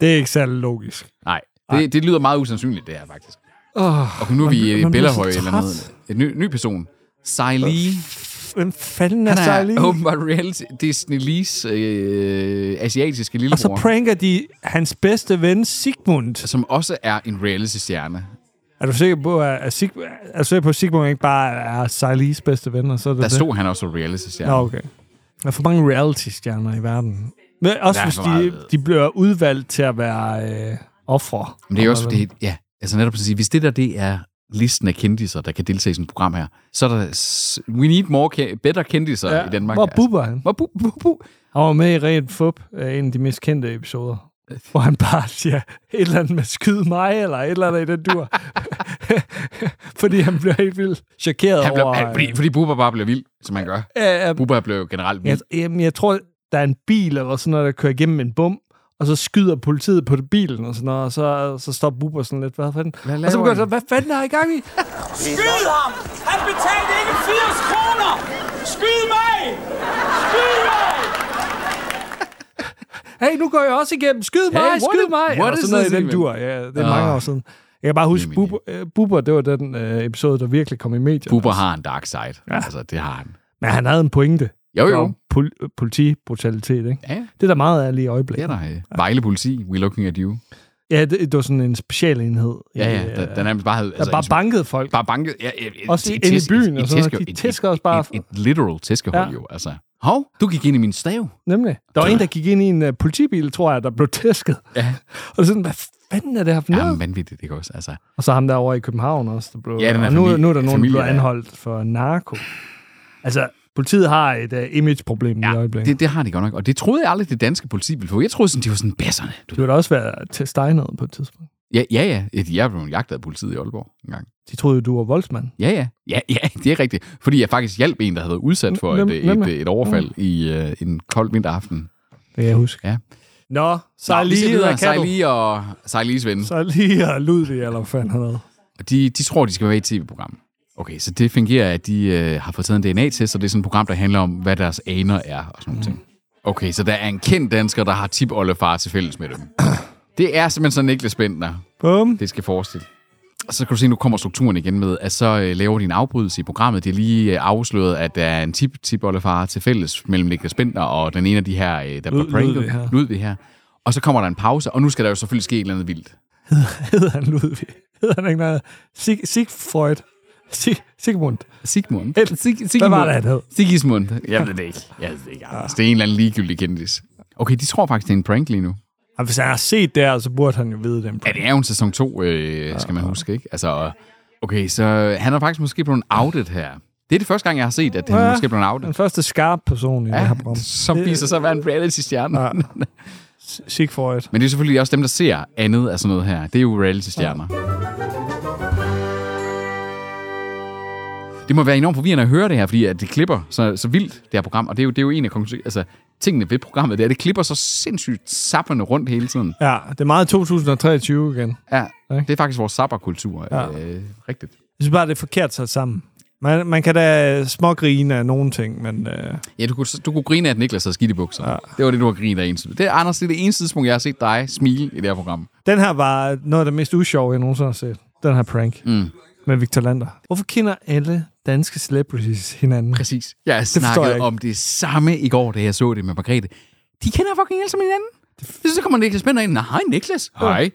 Speaker 1: Det er ikke særlig logisk.
Speaker 2: Nej, det, det lyder meget usandsynligt, det her faktisk.
Speaker 1: Oh,
Speaker 2: Og nu er vi i
Speaker 1: man bliver så
Speaker 2: Bellahøj eller
Speaker 1: træt.
Speaker 2: noget. En ny, ny person. Sai Lee.
Speaker 1: Hvem fanden er,
Speaker 2: Han
Speaker 1: er lige?
Speaker 2: er åbenbart reality Disney Lees øh,
Speaker 1: Og så
Speaker 2: asiatiske lillebror,
Speaker 1: pranker de hans bedste ven, Sigmund.
Speaker 2: som også er en reality-stjerne.
Speaker 1: Er du sikker på, at, at, Sig, er du sikker på, at Sigmund ikke bare er Sejlis bedste ven? Og så er det
Speaker 2: Der
Speaker 1: det?
Speaker 2: stod han også som reality-stjerne.
Speaker 1: Nå, okay. Der er for mange reality-stjerner i verden. Men også
Speaker 2: Der er
Speaker 1: hvis
Speaker 2: for
Speaker 1: de,
Speaker 2: meget.
Speaker 1: de bliver udvalgt til at være øh, ofre.
Speaker 2: Men det er jo også fordi, ja, altså netop at sige, hvis det der det er listen af kendiser, der kan deltage i sådan et program her, så er der, s- we need more, ke- better kendiser ja. i Danmark.
Speaker 1: Hvor bubber han?
Speaker 2: Hvor bu- bu- bu-
Speaker 1: Han var med i Ren Fup, øh, en af de mest kendte episoder. Hvor han bare siger et eller andet med skyd mig, eller et eller andet i den dur. (laughs) fordi han bliver helt vildt chokeret
Speaker 2: han blev,
Speaker 1: over...
Speaker 2: han, fordi, fordi Bubber bare bliver vild, som man gør.
Speaker 1: øh, øh,
Speaker 2: Bubber blev jo generelt vild.
Speaker 1: Jeg, jamen, jeg tror, der er en bil eller sådan noget, der kører igennem en bum, og så skyder politiet på det bilen og sådan noget, og så, så står Bubber sådan lidt, hvad fanden?
Speaker 2: Hvad
Speaker 1: og så
Speaker 2: laver
Speaker 1: begynder
Speaker 2: I?
Speaker 1: han, hvad fanden er I gang i?
Speaker 6: Skyd ham! Han betalte ikke 80 kroner! Skyd mig! Skyd mig!
Speaker 1: Hey, nu går jeg også igennem, skyd mig,
Speaker 2: what
Speaker 1: skyd
Speaker 2: is-
Speaker 1: mig!
Speaker 2: what
Speaker 1: Eller
Speaker 2: is
Speaker 1: sådan noget i
Speaker 2: this
Speaker 1: den
Speaker 2: even?
Speaker 1: dur, ja, det er
Speaker 2: Ah.
Speaker 1: mange år siden. Jeg kan bare huske,
Speaker 2: Jamen,
Speaker 1: Bubber, øh, Bubber det var den øh, episode, der virkelig kom i medierne.
Speaker 2: Bubber har en dark side. Ja. Altså, det har han.
Speaker 1: Men han havde en pointe.
Speaker 2: Jo, jo.
Speaker 1: Om pol- øh, politibrutalitet, ikke?
Speaker 2: Ja, ja.
Speaker 1: Det er der meget af lige i øjeblikket.
Speaker 2: det er der. øh. Vejle politi, we looking at you.
Speaker 1: Ja, det, det var sådan en specialenhed. i,
Speaker 2: Ja,
Speaker 1: øh,
Speaker 2: ja, der, der nærmest bare havde...
Speaker 1: der bare
Speaker 2: en-
Speaker 1: bankede folk.
Speaker 2: bare banket. Ja, et, et,
Speaker 1: Også
Speaker 2: et
Speaker 1: inde i
Speaker 2: tæsk-
Speaker 1: byen
Speaker 2: et-
Speaker 1: og
Speaker 2: et
Speaker 1: sådan noget.
Speaker 2: tæske-
Speaker 1: De
Speaker 2: et-
Speaker 1: tæsker
Speaker 2: et-
Speaker 1: os bare.
Speaker 2: Et, et literal tæskehul
Speaker 1: Ja.
Speaker 2: ja. jo, altså. Hov, du gik ind i min stav.
Speaker 1: Nemlig. Der var en, der gik ind i en uh, politibil, tror jeg, der blev tæsket.
Speaker 2: Ja.
Speaker 1: (laughs) Og sådan, hvad fanden er det her for
Speaker 2: Ja,
Speaker 1: noget?
Speaker 2: vanvittigt, ikke også? Altså,
Speaker 1: Og så ham derovre i København også, der blev...
Speaker 2: Ja, den her
Speaker 1: og nu,
Speaker 2: familie-
Speaker 1: nu er der nogen, der
Speaker 2: familie,
Speaker 1: blev
Speaker 2: ja.
Speaker 1: anholdt for narko. Altså, politiet har et uh, image-problem ja, i øjeblikket. Det,
Speaker 2: det, det har de godt nok. Og det troede jeg aldrig, det danske politi ville få. Jeg troede sådan, de var sådan basserne. Du.
Speaker 1: det ville også være til Steinet på et tidspunkt.
Speaker 2: Ja, ja, ja. Jeg blev jagtet af politiet i Aalborg en gang.
Speaker 1: De troede jo, du var voldsmand.
Speaker 2: Ja, ja. Ja, ja, (laughs) det er rigtigt. Fordi jeg faktisk hjalp en, der havde været udsat for
Speaker 1: Hvem-
Speaker 2: et, øh,
Speaker 1: hvem er- Mm.
Speaker 2: et, et, et overfald i øh, en kold vinteraften.
Speaker 1: Det kan jeg huske.
Speaker 2: Ja.
Speaker 1: Nå, så
Speaker 2: Nå, vi skal
Speaker 1: lige
Speaker 2: videre.
Speaker 1: der kan du.
Speaker 2: Sejli og Sejlis ven.
Speaker 1: Så lige og Ludvig, eller hvad fanden han havde.
Speaker 2: Og de, de tror, de skal være i et tv-program. Okay, så det fungerer, at de øh, har fået taget en DNA-test, og det er sådan et program, der handler om, hvad deres
Speaker 1: (clears throat)
Speaker 2: aner er og sådan nogle ting. Okay, så der er en kendt dansker, der har tip oldefar til fælles med dem. Det er simpelthen sådan Niklas Bentner,
Speaker 1: Bum. (laughs)
Speaker 2: det skal forestille. Og så kan du se, nu kommer strukturen igen med, at så øh, laver de en afbrydelse i programmet. Det er lige øh, afsløret, at der er en tip tip til fælles mellem Niklas Bentner og den ene af de her, øh, der
Speaker 1: Lud-
Speaker 2: bliver pranket.
Speaker 1: Ludvig her.
Speaker 2: Ludvig her. Og så kommer der en pause, og nu skal der jo selvfølgelig ske et eller andet vildt.
Speaker 1: Hedder han Ludvig? Hedder han ikke noget? Sig, Sigfreud. Sig, Sigmund.
Speaker 2: Sigmund.
Speaker 1: Eller-
Speaker 2: Sig- Sigmund.
Speaker 1: Hvad var det, han hed?
Speaker 2: Sigismund. Jeg ved det ikke. Jeg ved det ikke. Anders. Det er en eller anden ligegyldig kendis. Okay, de tror faktisk, det er en prank lige nu.
Speaker 1: Og hvis han har set det her, så burde han jo vide den.
Speaker 2: Ja, det er jo en sæson 2, øh, skal man
Speaker 1: Ah.
Speaker 2: huske, ikke? Altså, okay, så han er faktisk måske blevet outet her. Det er det første gang, jeg har set, at han
Speaker 1: Ja.
Speaker 2: måske er blevet
Speaker 1: Den
Speaker 2: outet.
Speaker 1: første skarpe person i ja, det Ah. her program.
Speaker 2: Ja, som viser sig at være en reality-stjerne.
Speaker 1: Ja. Sigfreud.
Speaker 2: Men det er selvfølgelig også dem, der ser andet af sådan noget her. Det er jo reality-stjerner. Det må være enormt forvirrende at høre det her, fordi at det klipper så, så vildt, det her program. Og det er jo, det er jo en af konklusion- altså, tingene ved programmet, det er, at det klipper så sindssygt sapperne rundt hele tiden.
Speaker 1: Ja, det er meget 2023 igen.
Speaker 2: Ja,
Speaker 1: Ikke?
Speaker 2: det er faktisk vores sapperkultur.
Speaker 1: Ja.
Speaker 2: Ja. Øh, rigtigt.
Speaker 1: Jeg synes bare, det er forkert sat sammen. Man, man kan da smågrine af nogle ting, men øh,
Speaker 2: Ja, du kunne, du kunne grine af, at Niklas havde skidt i bukser. Ja. Det var det, du har grinet af eneste. Det er, Anders, det er det eneste tidspunkt, jeg har set dig smile i det her program.
Speaker 1: den her var noget af det mest usjove, jeg nogensinde har set. Den her prank
Speaker 2: Mm.
Speaker 1: med Victor Lander. Hvorfor kender alle danske celebrities hinanden?
Speaker 2: Præcis. Jeg det
Speaker 1: forstår jeg
Speaker 2: snakkede
Speaker 1: ikke.
Speaker 2: om det samme i går, da jeg så det med Margrethe. De kender fucking alle sammen hinanden. Så kommer Niklas Bender ind. Nej, Niklas. Hej.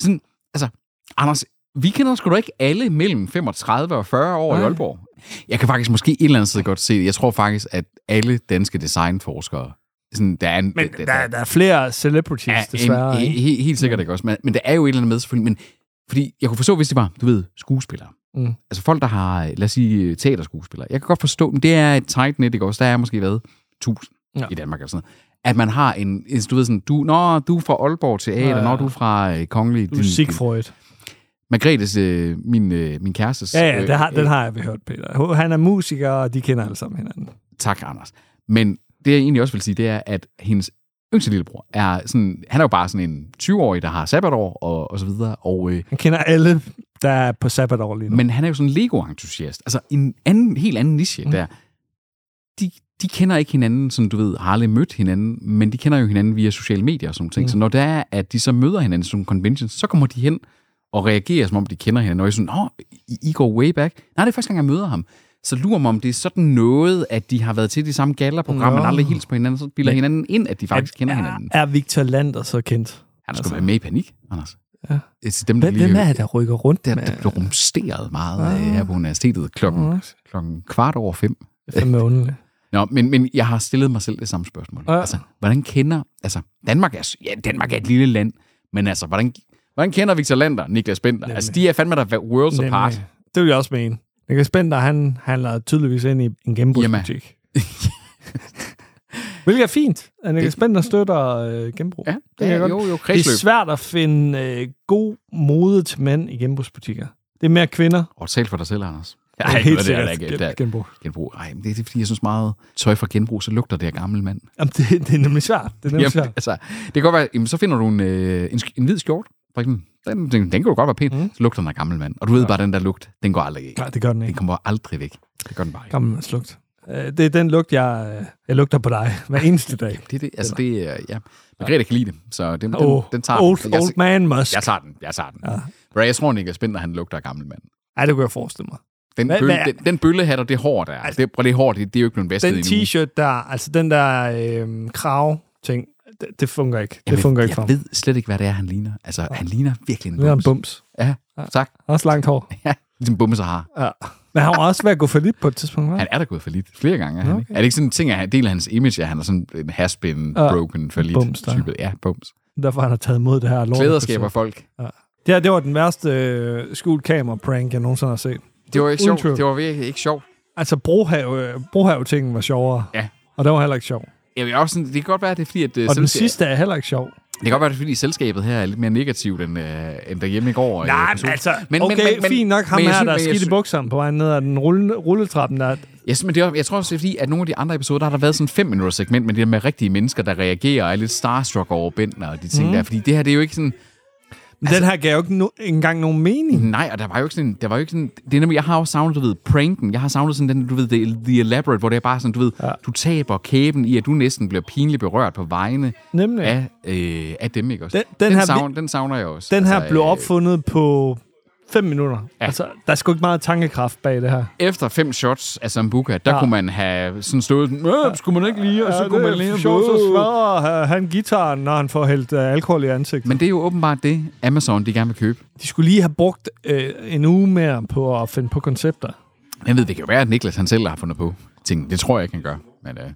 Speaker 2: Sådan, altså, Anders, vi kender sgu da ikke alle mellem 35 og 40 år Nej. i
Speaker 1: Nej.
Speaker 2: Aalborg. Jeg kan faktisk måske et eller andet sted godt se det. Jeg tror faktisk, at alle danske designforskere, sådan, der er en,
Speaker 1: Men der, der, der er flere celebrities, ja, desværre.
Speaker 2: en,
Speaker 1: ikke? Mm.
Speaker 2: he, helt sikkert ikke også. Men, men der er jo et eller andet med, selvfølgelig. Men, fordi jeg kunne forstå, hvis det var, du ved, skuespillere.
Speaker 1: Mm.
Speaker 2: Mm. Altså folk, der har, lad os sige, teaterskuespillere. Jeg kan godt forstå, men det er et tight net, ikke også? Der er måske været tusind
Speaker 1: Ja.
Speaker 2: ja. i Danmark eller sådan noget. At man har en, en du ved sådan, du, nå, du er fra Aalborg Teater,
Speaker 1: Ja.
Speaker 2: ja. når du er fra øh, Kongelig...
Speaker 1: Du er Sigfreud.
Speaker 2: Margrethes, øh, min, øh, min kærestes...
Speaker 1: Ja, ja,
Speaker 2: øh,
Speaker 1: det har, den
Speaker 2: øh,
Speaker 1: har jeg hørt, Peter. Han er musiker, og de kender alle sammen hinanden.
Speaker 2: øh, Tak, Anders. Men det, jeg egentlig også vil sige, det er, at hendes yngste lillebror er sådan... Han er jo bare sådan en 20-årig, der har sabbatår og, og så videre, og... Øh,
Speaker 1: Han kender alle, der er på sabbatår lige nu.
Speaker 2: Men han er jo sådan en Lego-entusiast. Altså en anden, helt anden niche mm. der. De, de kender ikke hinanden, som du ved, har aldrig mødt hinanden, men de kender jo hinanden via sociale medier og sådan nogle ting. Mm. Så når det er, at de så møder hinanden som conventions, så kommer de hen og reagerer, som om de kender hinanden. Og jeg er sådan, åh, I, I går way back. Nej, det er første gang, jeg møder ham. Så lurer mig, om det er sådan noget, at de har været til de samme gallerprogrammer, men
Speaker 1: Nå.
Speaker 2: aldrig hils på hinanden, så bilder hinanden ind, at de faktisk kender hinanden.
Speaker 1: Er Victor Lander så kendt?
Speaker 2: Han skulle
Speaker 1: altså-
Speaker 2: være med i panik, Anders.
Speaker 1: Ja.
Speaker 2: Det er til dem, der
Speaker 1: Hvem,
Speaker 2: lige
Speaker 1: hvem er det, der rykker rundt
Speaker 2: der,
Speaker 1: med?
Speaker 2: der blev rumsteret meget ah. her på universitetet klokken,
Speaker 1: Ah.
Speaker 2: ah. klokken kvart over fem.
Speaker 1: Det er fandme
Speaker 2: (laughs)
Speaker 1: underligt.
Speaker 2: Nå, men, men jeg har stillet mig selv det samme spørgsmål.
Speaker 1: Ja.
Speaker 2: Ah. Altså, hvordan kender... Altså, Danmark er, s- ja, Danmark er et lille land, men altså, hvordan, hvordan kender Victor Lander, Niklas Bender? Altså, de er fandme der worlds Nemlig. apart.
Speaker 1: Nemlig. Det vil jeg også mene. Niklas Bender, han handler tydeligvis ind i en genbrugsbutik. Hvilket er fint, at Niklas Bender støtter øh, genbrug.
Speaker 2: Ja,
Speaker 1: kan
Speaker 2: det
Speaker 1: jeg
Speaker 2: er
Speaker 1: godt.
Speaker 2: jo, jo
Speaker 1: det er
Speaker 2: kredsløb.
Speaker 1: svært at finde øh, god mode til mænd i genbrugsbutikker. Det er mere kvinder.
Speaker 2: Og tal for dig selv, Anders.
Speaker 1: Det er
Speaker 2: Ej,
Speaker 1: helt
Speaker 2: det er
Speaker 1: sikkert
Speaker 2: der ikke.
Speaker 1: gen-
Speaker 2: Det er
Speaker 1: genbrug.
Speaker 2: genbrug. Ej, men det er, det er, fordi, jeg synes meget tøj fra genbrug, så lugter det af gammel mand.
Speaker 1: Jamen, det, det er nemlig svært. Det er nemlig
Speaker 2: Jamen,
Speaker 1: svært.
Speaker 2: altså, det kan godt være, jamen, så finder du en, øh, en, sk- en hvid skjort, for eksempel. Den, den, den kan jo godt være pæn.
Speaker 1: Mm.
Speaker 2: Mm. Så lugter den af gammel mand. Og du ved ja. bare, den der lugt, den går aldrig ikke.
Speaker 1: Nej, det gør den
Speaker 2: Den
Speaker 1: ikke.
Speaker 2: kommer aldrig væk. Det gør den bare ikke.
Speaker 1: Gammel mands lugt. Øh, Det er den lugt, jeg, øh, jeg lugter på dig hver eneste dag.
Speaker 2: Det, er det, altså, det er, ja. Margrethe kan lide det, så den,
Speaker 1: Oh,
Speaker 2: den, den tager
Speaker 1: old,
Speaker 2: den.
Speaker 1: old man must.
Speaker 2: jeg tager den, jeg tager den.
Speaker 1: Ja.
Speaker 2: Ja. Jeg tror, Niklas Bender, han lugter af gammel mand.
Speaker 1: Ej, det kunne jeg forestille mig.
Speaker 2: Den,
Speaker 1: Hvad-
Speaker 2: bølle,
Speaker 1: hvad er-
Speaker 2: den, den bøllehat og det hår der, altså, det, prøv, det hår, det, det er jo ikke blevet vasket
Speaker 1: den t-shirt der, altså den der øh, krav-ting, det, det fungerer ikke. Det
Speaker 2: Jamen,
Speaker 1: fungerer ikke for
Speaker 2: Jeg
Speaker 1: ham.
Speaker 2: ved slet ikke, hvad det er, han ligner. Altså, ja. han ligner virkelig en
Speaker 1: Det er en
Speaker 2: bums.
Speaker 1: bums.
Speaker 2: Ja, tak. (laughs)
Speaker 1: Han har Også langt hår.
Speaker 2: Ja, ligesom bumse har.
Speaker 1: Ja. Men han var også ved at gå for lidt på et tidspunkt, hva'?
Speaker 2: Han er da gået for lidt flere gange, er, han, ikke? er det ikke sådan en ting, at han deler hans image, at han er sådan en has-been,
Speaker 1: Ja.
Speaker 2: broken, for lidt
Speaker 1: Bums, der.
Speaker 2: type? Ja, bums.
Speaker 1: Derfor har han taget imod det her lort.
Speaker 2: Klæder skaber folk.
Speaker 1: Det her, det var den værste øh, skjult kamera-prank, jeg nogensinde har set.
Speaker 2: Det var ikke
Speaker 1: Uden
Speaker 2: sjovt.
Speaker 1: tvivl.
Speaker 2: Det var virkelig ikke sjovt.
Speaker 1: Altså, brohave, brohave-tingen var sjovere.
Speaker 2: Ja.
Speaker 1: Og den var heller ikke sjov.
Speaker 2: Jeg vil også sådan, det kan godt være, at det er fordi, at... øh,
Speaker 1: Og den
Speaker 2: selskab-
Speaker 1: sidste er heller ikke sjov.
Speaker 2: Det kan godt være, at det er fordi selskabet her er lidt mere negativt, end, øh, end derhjemme i går. øh, på solen.
Speaker 1: altså, okay, fint nok ham
Speaker 2: men jeg
Speaker 1: her, der
Speaker 2: synes-
Speaker 1: er
Speaker 2: men jeg Altså-
Speaker 1: skidt i
Speaker 2: synes-
Speaker 1: bukserne på vej ned ad den rulle, rulletrappen. Der,
Speaker 2: Jeg, synes, men det er, jeg tror også, det er fordi, at nogle af de andre episoder, der har der været sådan en 5 minutters segment, men
Speaker 1: Mhm.
Speaker 2: det der med rigtige mennesker, der reagerer og er lidt starstruck over Bentner og de ting mm. der. Fordi det her, det er jo ikke sådan...
Speaker 1: Altså, den her gav jo ikke no- engang nogen mening.
Speaker 2: Nej, og der var jo ikke sådan, der var jo ikke sådan, det er nemlig, jeg har jo savnet, du ved, pranken, jeg har savnet sådan den, du ved, the, the elaborate, hvor det er bare sådan, du ved, ja. du taber kæben i, at du næsten bliver pinligt berørt på vegne
Speaker 1: Nemlig.
Speaker 2: af, øh, af dem, ikke også?
Speaker 1: Den-
Speaker 2: Den,
Speaker 1: den
Speaker 2: den,
Speaker 1: her
Speaker 2: den,
Speaker 1: vi-
Speaker 2: savn, den savner jeg også.
Speaker 1: Den her
Speaker 2: Altså,
Speaker 1: blev
Speaker 2: øh,
Speaker 1: opfundet på 5 minutter. Ja.
Speaker 2: Ja.
Speaker 1: Altså, der er sgu ikke meget tankekraft bag det her.
Speaker 2: Efter fem shots af Sambuca, der
Speaker 1: Ja.
Speaker 2: ja. kunne man have sådan stået, øh, skulle man ikke lige, og så kunne man lige...
Speaker 1: smadrer øh, han gitaren, når han får hældt øh, alkohol i ansigtet. Men
Speaker 2: Men det er jo åbenbart det, Amazon de gerne vil købe.
Speaker 1: de skulle lige have brugt øh, en uge mere på at finde på koncepter.
Speaker 2: Jeg ved, det kan jo være, at Niklas han selv har fundet på ting. Det tror jeg ikke, han gør. Men, øh...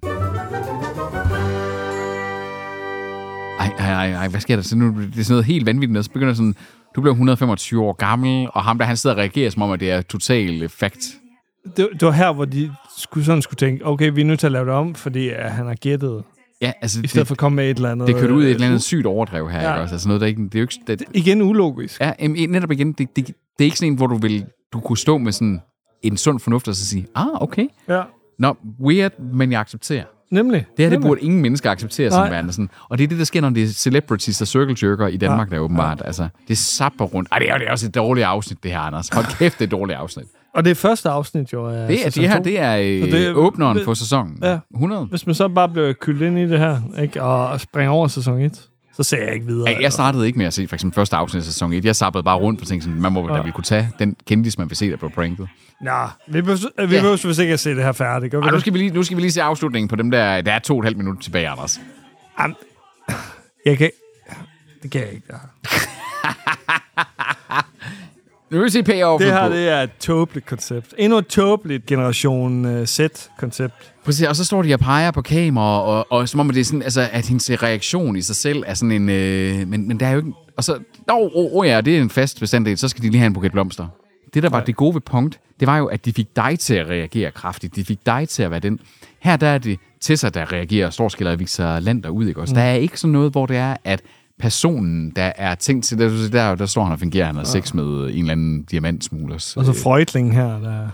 Speaker 2: ej, ej, ej, ej, hvad sker der så nu? Det er sådan noget helt vanvittigt, noget. så begynder sådan, du bliver 125 år gammel, og ham der, han sidder og reagerer som om, at det er total øh, fact.
Speaker 1: Det, det var her, hvor de skulle, sådan skulle tænke, okay, vi er nødt til at lave det om, fordi øh, han har gættet,
Speaker 2: Ja, altså,
Speaker 1: i stedet det, for at
Speaker 2: det,
Speaker 1: komme med et eller andet.
Speaker 2: det kører ud i et eller andet
Speaker 1: øh,
Speaker 2: sygt overdrev her,
Speaker 1: Ja.
Speaker 2: ja. ikke også? Altså noget, der ikke, det er jo ikke, det,
Speaker 1: øh, Igen ulogisk.
Speaker 2: ja, em, eh, netop igen, det, det, det, er ikke sådan en, hvor du vil, du kunne stå med sådan en sund fornuft og så sige, ah, okay,
Speaker 1: Ja.
Speaker 2: nå, weird, men jeg accepterer.
Speaker 1: Nemlig.
Speaker 2: Det her, det
Speaker 1: Nemlig.
Speaker 2: burde ingen mennesker acceptere
Speaker 1: Nej.
Speaker 2: som værende sådan. Og det er det, der sker, når det er celebrities og circle jerker i Danmark, ja. der åbenbart. Ja. Altså, det sapper rundt. Ej, det er, jo- det er også et dårligt afsnit, det her, Anders.
Speaker 1: (laughs)
Speaker 2: Hold kæft, det er et dårligt afsnit.
Speaker 1: Og det er første afsnit jo af
Speaker 2: Det, er,
Speaker 1: sæson
Speaker 2: det her,
Speaker 1: to.
Speaker 2: det er, øh,
Speaker 1: Så det er-
Speaker 2: åbneren
Speaker 1: det-
Speaker 2: på sæsonen.
Speaker 1: Ja.
Speaker 2: 100.
Speaker 1: Hvis man så bare blev kyldt ind i det her, ikke, og springer over sæson 1, så ser jeg ikke videre.
Speaker 2: Ja, Jeg startede ikke med at se for eksempel første afsnit af sæson 1. Jeg sappede bare rundt på ting, sådan, man må da ville kunne tage den kendis, man vil se, der blev pranket.
Speaker 1: Nå, vi behøver, øh, vi behøver ja. ikke at se det her færdigt. Gør vi
Speaker 2: Og nu
Speaker 1: det?
Speaker 2: skal, vi lige, nu skal vi lige se afslutningen på dem der... Der er to og et halvt minut tilbage, Anders.
Speaker 1: Jeg kan... Det kan jeg ikke. Det her,
Speaker 2: Nu vil vi se payoffen
Speaker 1: det, her
Speaker 2: på.
Speaker 1: det er et tåbeligt koncept. Endnu et tåbeligt generation uh, Z-koncept.
Speaker 2: Prøv at se, og så står de og peger på kamera, og, og, og som om at det er sådan, altså, at hendes reaktion i sig selv er sådan en... Øh, men, men der er jo ikke... Og så... Nå, oh, oh, ja, det er en fast bestanddel, så skal de lige have en buket blomster. Det, der var det gode ved punkt, det var jo, at de fik dig til at reagere kraftigt. De fik dig til at være den. Her der er det Tessa, der reagerer og står og skiller Victor Lander ud, ikke også? Mm. Der er ikke sådan noget, hvor det er, at personen, der er tænkt til, der, der, der står han og fungerer, han har sex med en eller anden diamantsmuglers.
Speaker 1: Og så Freudling her, der...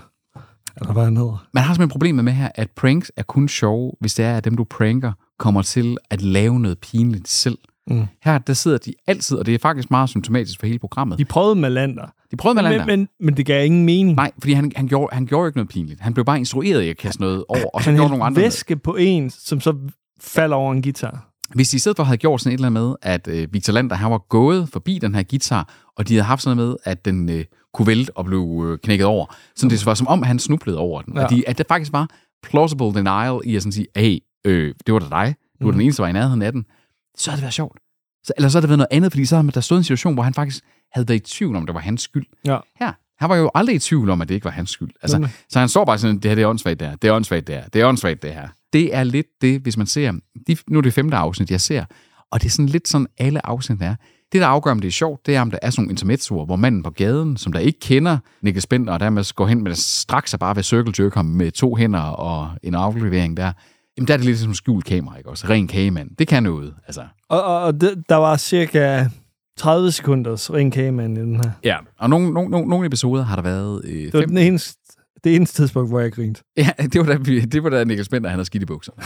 Speaker 1: Eller hvad han hedder.
Speaker 2: Man har simpelthen problemet med her, at pranks er kun sjove, hvis det er, at dem, du pranker, kommer til at lave noget pinligt selv. Mm. Her, der sidder de altid, og det er faktisk meget symptomatisk for hele programmet.
Speaker 1: De prøvede med Lander.
Speaker 2: De prøvede med
Speaker 1: Men,
Speaker 2: Lander.
Speaker 1: men, men det gav ingen mening.
Speaker 2: Nej, fordi han, han, gjorde, han gjorde ikke noget pinligt. Han blev bare instrueret i at kaste noget over, og så
Speaker 1: han
Speaker 2: gjorde
Speaker 1: hældte
Speaker 2: nogle andre. noget.
Speaker 1: væske på en, som så falder over en guitar.
Speaker 2: Hvis de i stedet for havde gjort sådan et eller andet med, at øh, Victor Lander, han var gået forbi den her guitar, og de havde haft sådan noget med, at den øh, kunne vælte og blev øh, knækket over. Så det var som om, han snublede over den. Ja.
Speaker 1: Ja.
Speaker 2: Og de, at der faktisk var plausible denial i at sådan sige, hey, øh, det var da dig. Du var den eneste, der var i nærheden af den. Så havde det været sjovt. Så, eller så havde det været noget andet, fordi så havde man- der stået en situation, hvor han faktisk havde været i tvivl om, det var hans skyld.
Speaker 1: Ja.
Speaker 2: Her. Han var jo aldrig i tvivl om, at det ikke var hans skyld. Altså,
Speaker 1: Nemlig.
Speaker 2: så han står bare sådan, det her det er åndssvagt det her, det er åndssvagt det her, det er åndssvagt det her. Det er lidt det, hvis man ser, de, nu er det femte afsnit, jeg ser, og det er sådan lidt sådan, alle afsnit er. Det, der afgør, om det er sjovt, det er, om der er sådan nogle intermezzoer, hvor manden på gaden, som der ikke kender Niklas Bender, og dermed går hen med straks og bare ved circle jerk ham med to hænder og en aflevering der, jamen der er det lidt som skjult kamera, ikke også? Ren kagemand. Det kan noget, altså.
Speaker 1: Og, og, og det, der var cirka 30 sekunders ren kagemand i den her.
Speaker 2: Ja, og nogle, nogle, nogle, nogle episoder har der været øh,
Speaker 1: Det var
Speaker 2: fem.
Speaker 1: den eneste, det eneste tidspunkt, hvor jeg grinte.
Speaker 2: Ja, (laughs) det var da, vi- det var da Niklas Bender, han har skidt i bukserne.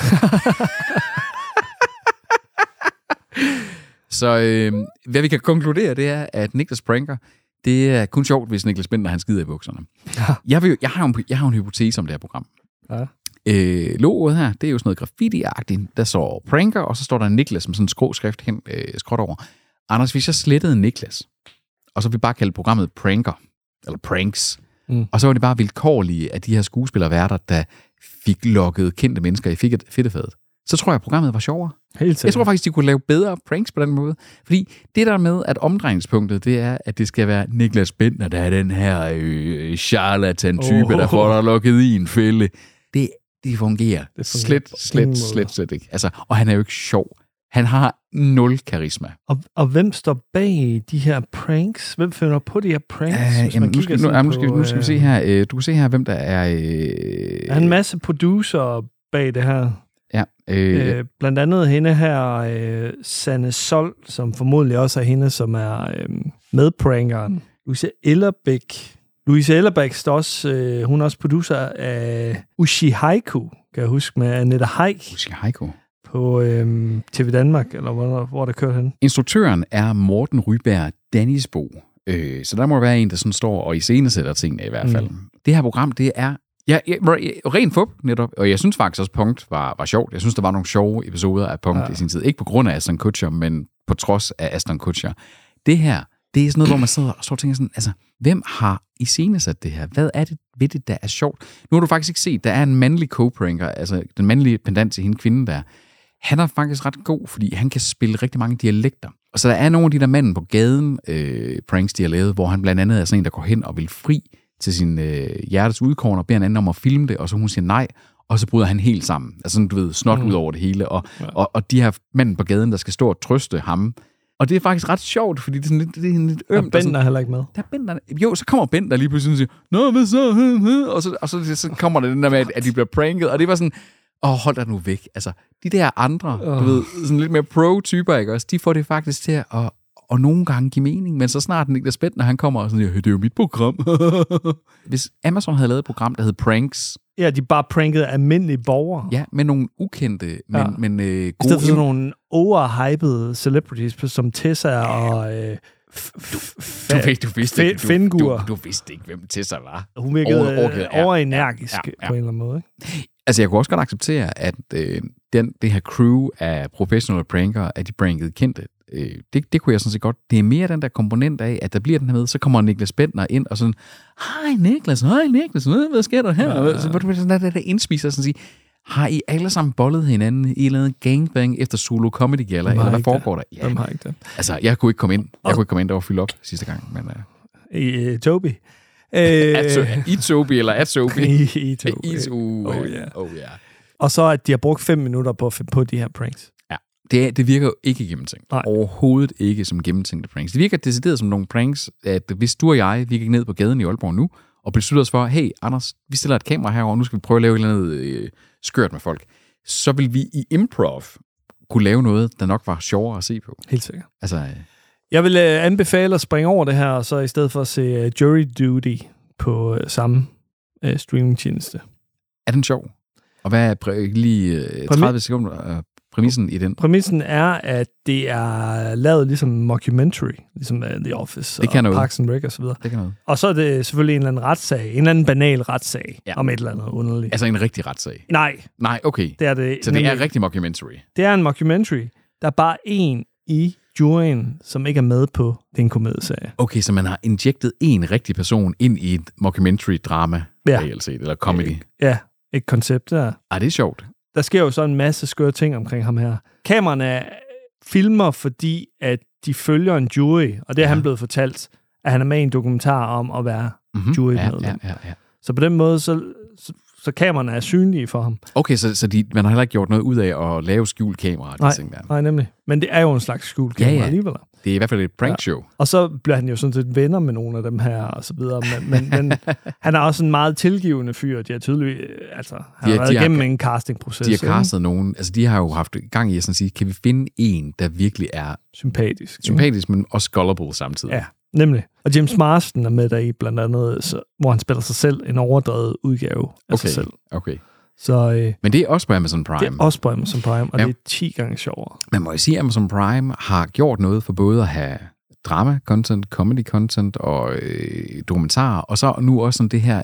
Speaker 2: Så øh, hvad vi kan konkludere, det er, at Niklas pranker, det er kun sjovt, hvis Niklas Bender, han skider i bukserne. Ja. Jeg, vil, jo- jeg, har jo en, jeg har jo en hypotese om det her program.
Speaker 1: Ja.
Speaker 2: Øh, logoet her, det er jo sådan noget graffiti-agtigt. Der står pranker, og så står der Niklas med sådan en skrå skrift hen, øh, skråt over. Anders, hvis jeg slettede Niklas, og så vi bare kalde programmet pranker, eller pranks,
Speaker 1: Mm.
Speaker 2: mm. og så var det bare vilkårlige af de her skuespillerværter, der fik lukket kendte mennesker i fik- fedtefadet, så tror jeg, at programmet var sjovere.
Speaker 1: Helt sikkert.
Speaker 2: Jeg tror faktisk, de kunne lave bedre pranks på den måde. Fordi det der med, at omdrejningspunktet, det er, at det skal være Niklas Bentner, der er den her øh, charlatan-type, oh. der får dig lukket i en fælde. Det, det fungerer.
Speaker 1: fungerer
Speaker 2: Det fungerer
Speaker 1: på
Speaker 2: slet,
Speaker 1: ingen
Speaker 2: slet,
Speaker 1: måde.
Speaker 2: slet, slet ikke. Altså, og han er jo ikke sjov. Han har nul karisma.
Speaker 1: Og, og hvem står bag de her pranks? Hvem finder på de her pranks?
Speaker 2: Uh,
Speaker 1: hvis man
Speaker 2: jamen, nu, skal,
Speaker 1: kigger
Speaker 2: nu,
Speaker 1: sådan
Speaker 2: jamen, nu, skal,
Speaker 1: på,
Speaker 2: nu skal vi se
Speaker 1: øh,
Speaker 2: her. Øh, du kan se her, hvem der er... Øh,
Speaker 1: Der er en masse producer bag det her.
Speaker 2: Ja, øh, øh,
Speaker 1: Øh, blandt andet hende her, øh, Sanne Sol, som formodentlig også er hende, som er øh, medprankeren. Louise Ellerbæk. Louise Ellerbæk står også, øh, hun er også producer af Ushi Haiku, kan jeg huske, med Annette Haik
Speaker 2: Heiko.
Speaker 1: på på øhm, TV Danmark, eller hvor, hvor der kørt hen.
Speaker 2: Instruktøren er Morten Ryberg Dannisbo. Øh, så der må være en, der sådan står og iscenesætter tingene i hvert fald. Mm. Det her program, det er ja, ja, ren fup netop. Og jeg synes faktisk også, Punkt var, var sjovt. Jeg synes, der var nogle sjove episoder af Punkt ja. i sin tid. Ikke på grund af Aston Kutcher, men på trods af Aston Kutcher. Det her, det er sådan noget, hvor man sidder og står og tænker sådan, altså, hvem har iscenesat det her? Hvad er det ved det, der er sjovt? Nu har du faktisk ikke set, der er en mandlig co-pranker, altså den mandlige pendant til hende kvinden der. Han er faktisk ret god, fordi han kan spille rigtig mange dialekter. Og så der er nogle af de der mænd på gaden, øh, pranks de har lavet, hvor han blandt andet er sådan en, der går hen og vil fri til sin øh, hjertes udkorn og beder en anden om at filme det, og så hun siger nej, og så bryder han helt sammen. Altså sådan, du ved, snot mm. ud over det hele. Og, ja. og, og de her mænd på gaden, der skal stå og trøste ham, og det er faktisk ret sjovt, fordi det er sådan lidt, det er sådan lidt ømt.
Speaker 1: Og Bender er heller ikke med.
Speaker 2: Der er Bender, jo, så kommer Bender lige pludselig og siger, Nå, hvad så? Hm, Og så, og så, så kommer der den der med, at, at de bliver pranket, og det var sådan, åh, oh, hold dig nu væk. Altså, de der andre, oh. du ved, sådan lidt mere pro-typer, ikke også, de får det faktisk til at, at, at nogle gange give mening, men så snart Niklas Bender, han kommer og sådan, hey, det er jo mit program. (laughs) Hvis Amazon havde lavet et program, der hed Pranks,
Speaker 1: Ja, de bare prankede almindelige borgere.
Speaker 2: ja, med nogle ukendte, men,
Speaker 1: Ja.
Speaker 2: ja. men øh,
Speaker 1: I stedet for
Speaker 2: gode
Speaker 1: sådan nogle overhypede celebrities, som Tessa og... Øh,
Speaker 2: (laughs) Du, vidste, du, vidste, ikke- du,
Speaker 1: Fingur.
Speaker 2: du, du vidste ikke, hvem Tessa var.
Speaker 1: hun virkede øh,
Speaker 2: Over-
Speaker 1: over,
Speaker 2: overgivet, ja,
Speaker 1: overenergisk
Speaker 2: ja, ja, ja.
Speaker 1: på en eller anden måde. Ikke?
Speaker 2: Altså, jeg kunne også godt acceptere, at øh, den, det her crew af professionelle pranker, at de prankede kendte, øh, det, det kunne jeg sådan set godt. Det er mere den der komponent af, at der bliver den her med, så kommer Niklas Bentner ind og sådan, hej Niklas, hej Niklas, hvad hvad sker der her? Ja. Så hvor du sådan der, der, der indspiser og sådan sige, har I alle sammen bollet hinanden i en eller anden gangbang efter Solo Comedy Gala, eller hvad
Speaker 1: ikke det?
Speaker 2: foregår der? Ja,
Speaker 1: Hvem har ikke det?
Speaker 2: altså, jeg kunne ikke komme ind. Jeg kunne ikke komme ind, der var fyldt op sidste gang, men... Øh,
Speaker 1: I, øh, Toby. Øh,
Speaker 2: Atso- Itobi eller Atsobi?
Speaker 1: (laughs) I- I Toby.
Speaker 2: Ito-
Speaker 1: Oh, ja.
Speaker 2: Oh, yeah.
Speaker 1: Og så, at de har brugt fem minutter på at finde på de her pranks.
Speaker 2: Ja, det, er- det virker jo ikke gennemtænkt.
Speaker 1: Nej.
Speaker 2: Nej. Overhovedet ikke som gennemtænkte pranks. Det virker decideret som nogle pranks, at hvis du og jeg, vi gik ned på gaden i Aalborg nu, og besluttede os for, hey Anders, vi stiller et kamera herover, nu skal vi prøve at lave et eller andet øh, skørt med folk, så vil vi i improv kunne lave noget, der nok var sjovere at se på.
Speaker 1: Helt sikkert.
Speaker 2: Altså, øh,
Speaker 1: Jeg vil øh, anbefale at springe over det her, og så i stedet for at se øh, Jury Duty på øh, samme øh, streamingtjeneste.
Speaker 2: er den sjov? Og hvad er præ- lige øh,
Speaker 1: Præmi-
Speaker 2: 30 sekunder øh, præmissen i den?
Speaker 1: Præmissen er, at det er lavet ligesom mockumentary, ligesom øh, The Office
Speaker 2: Det
Speaker 1: og
Speaker 2: kan noget.
Speaker 1: Parks and Rec og så videre.
Speaker 2: Det kan noget.
Speaker 1: Og så er det selvfølgelig en eller anden retssag, en eller anden banal retssag ja.
Speaker 2: Ja.
Speaker 1: om et eller andet underligt. Altså,
Speaker 2: Altså en rigtig retssag.
Speaker 1: Nej,
Speaker 2: Nej, okay.
Speaker 1: det er det.
Speaker 2: Så det er
Speaker 1: nemlig-
Speaker 2: rigtig mockumentary.
Speaker 1: det er en mockumentary. Der er bare en i juryen, som ikke er med på den komedieserie.
Speaker 2: Okay, så man har injektet en rigtig person ind i et mockumentary-drama,
Speaker 1: Ja.
Speaker 2: ja. reelt set, eller comedy.
Speaker 1: Ja, et koncept der.
Speaker 2: Ej, det er sjovt.
Speaker 1: Der sker jo så en masse skøre ting omkring ham her. Kameraerne filmer, fordi at de følger en jury, og det er ja. han blevet fortalt, at han er med i en dokumentar om at være mm-hmm.
Speaker 2: Mhm. Ja,
Speaker 1: jurymedlem.
Speaker 2: ja, ja, ja.
Speaker 1: Så på den måde, så, så, så kameraerne er synlige for ham.
Speaker 2: Okay, så, så de, man har heller ikke gjort noget ud af at lave skjult kamera og de
Speaker 1: Nej,
Speaker 2: ting der.
Speaker 1: nej, nemlig. Men det er jo en slags skjult kamera ja,
Speaker 2: Ja,
Speaker 1: ja.
Speaker 2: ja.
Speaker 1: alligevel.
Speaker 2: Det er i hvert fald et prankshow.
Speaker 1: Og så bliver han jo sådan set venner med nogle af dem her, og så videre. Men, men,
Speaker 2: (laughs)
Speaker 1: men han er også en meget tilgivende fyr. De har tydeligvis... Altså, han
Speaker 2: De
Speaker 1: har
Speaker 2: er-
Speaker 1: været
Speaker 2: de har-
Speaker 1: igennem en castingproces.
Speaker 2: De har
Speaker 1: ikke?
Speaker 2: castet nogen, altså de har jo haft gang i at sådan sige, kan vi finde en, der virkelig er
Speaker 1: Sympatisk. ikke?
Speaker 2: sympatisk, men også gullible samtidig?
Speaker 1: Mm. Ja, nemlig. Og James Marsden er med deri, blandt andet, så, hvor han spiller sig selv en overdrevet udgave af sig
Speaker 2: okay,
Speaker 1: selv.
Speaker 2: okay.
Speaker 1: Så øh,
Speaker 2: Men det er også på Amazon
Speaker 1: det
Speaker 2: Prime.
Speaker 1: er også på Amazon Prime, og ja.
Speaker 2: Ja.
Speaker 1: det er 10 gange sjovere.
Speaker 2: Man må jo sige, at Amazon Prime har gjort noget for både at have drama-content, comedy-content og øh, dokumentarer, og så nu også sådan det her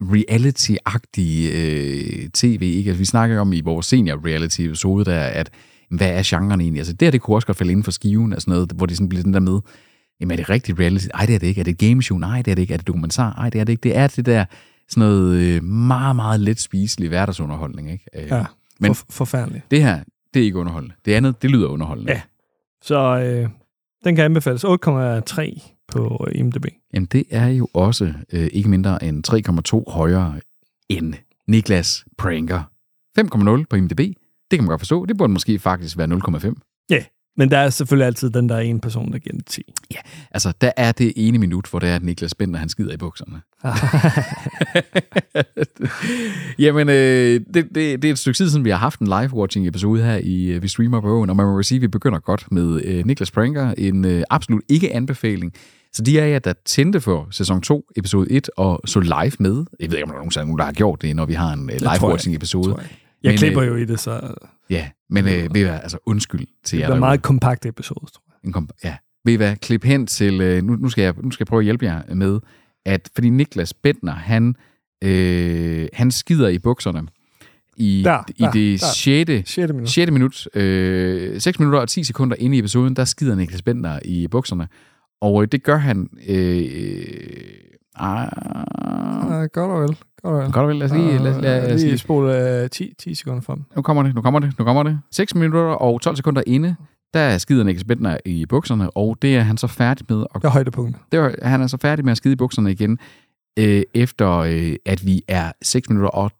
Speaker 2: reality-agtige øh, tv. Ikke? Altså, vi snakker om i vores senior-reality-episode, der, at hvad er genren egentlig? Altså, det her, det kunne også godt falde inden for skiven, altså noget, hvor det sådan bliver den der med, jamen er det rigtigt reality? Nej, det er det ikke. Er det et gameshow? Nej, det er det ikke. Er det dokumentar? Nej, det er det ikke. Det er det der sådan noget øh, meget, meget let spiselig hverdagsunderholdning. Ikke? Øh,
Speaker 1: Ja, Men,
Speaker 2: Men-
Speaker 1: for, forfærdeligt.
Speaker 2: Det her, det er ikke underholdende. Det andet, det lyder underholdende.
Speaker 1: Ja. Så øh, den kan anbefales 8,3 på øh, IMDb.
Speaker 2: Jamen, det er jo også øh, ikke mindre end 3,2 højere end Niklas Pranker. 5,0 på IMDb. Det kan man godt forstå. Det burde måske faktisk være 0,5.
Speaker 1: Men der er selvfølgelig altid den, der er en person, der giver den 10.
Speaker 2: Altså, der er det ene minut, hvor det er, at Niklas Bender, han skider i bukserne. (laughs) Jamen, øh, det, det, det er et stykke tid siden, vi har haft en live-watching-episode her i øh, Vi Streamer på Åen, og man må sige, at vi begynder godt med øh, Niklas Pranker, en øh, absolut ikke-anbefaling. Så de af jer, der tændte for sæson 2, episode 1, og så live med, jeg ved ikke, om der er nogen, der har gjort det, når vi har en
Speaker 1: jeg
Speaker 2: øh,
Speaker 1: ikke.
Speaker 2: live-watching-episode.
Speaker 1: Jeg
Speaker 2: Men,
Speaker 1: klipper
Speaker 2: øh,
Speaker 1: jo i det, så
Speaker 2: Ja, men øh, ved I hvad, altså undskyld til jer
Speaker 1: Det var en
Speaker 2: derude.
Speaker 1: meget kompakt episode, tror jeg.
Speaker 2: En kom- ja. Ved I hvad, klip hen til, øh, nu, nu, skal jeg, nu skal jeg prøve at hjælpe jer med, at fordi Niklas Bettner, han, øh, han skider i bukserne i,
Speaker 1: Der,
Speaker 2: i
Speaker 1: der,
Speaker 2: det
Speaker 1: der.
Speaker 2: 6.
Speaker 1: 6. minut.
Speaker 2: 6. minut, øh, 6 minutter og 10 sekunder inde i episoden, der skider Niklas Bender i bukserne. Og øh, det gør han... Øh, ah,
Speaker 1: Ja, godt og vel. Godt og vel.
Speaker 2: godt og vel, lad os lige... Lad, lad, lad os
Speaker 1: lige
Speaker 2: lige.
Speaker 1: spole øh, 10, 10 sekunder frem.
Speaker 2: Nu kommer det, nu kommer det, nu kommer det. 6 minutter og 12 sekunder inde, der skider Niklas Bender i bukserne, og det er han så færdig med at
Speaker 1: Det er højdepunktet.
Speaker 2: det var, han er så færdig med at skide i bukserne igen, øh, efter øh, at vi er 6 minutter og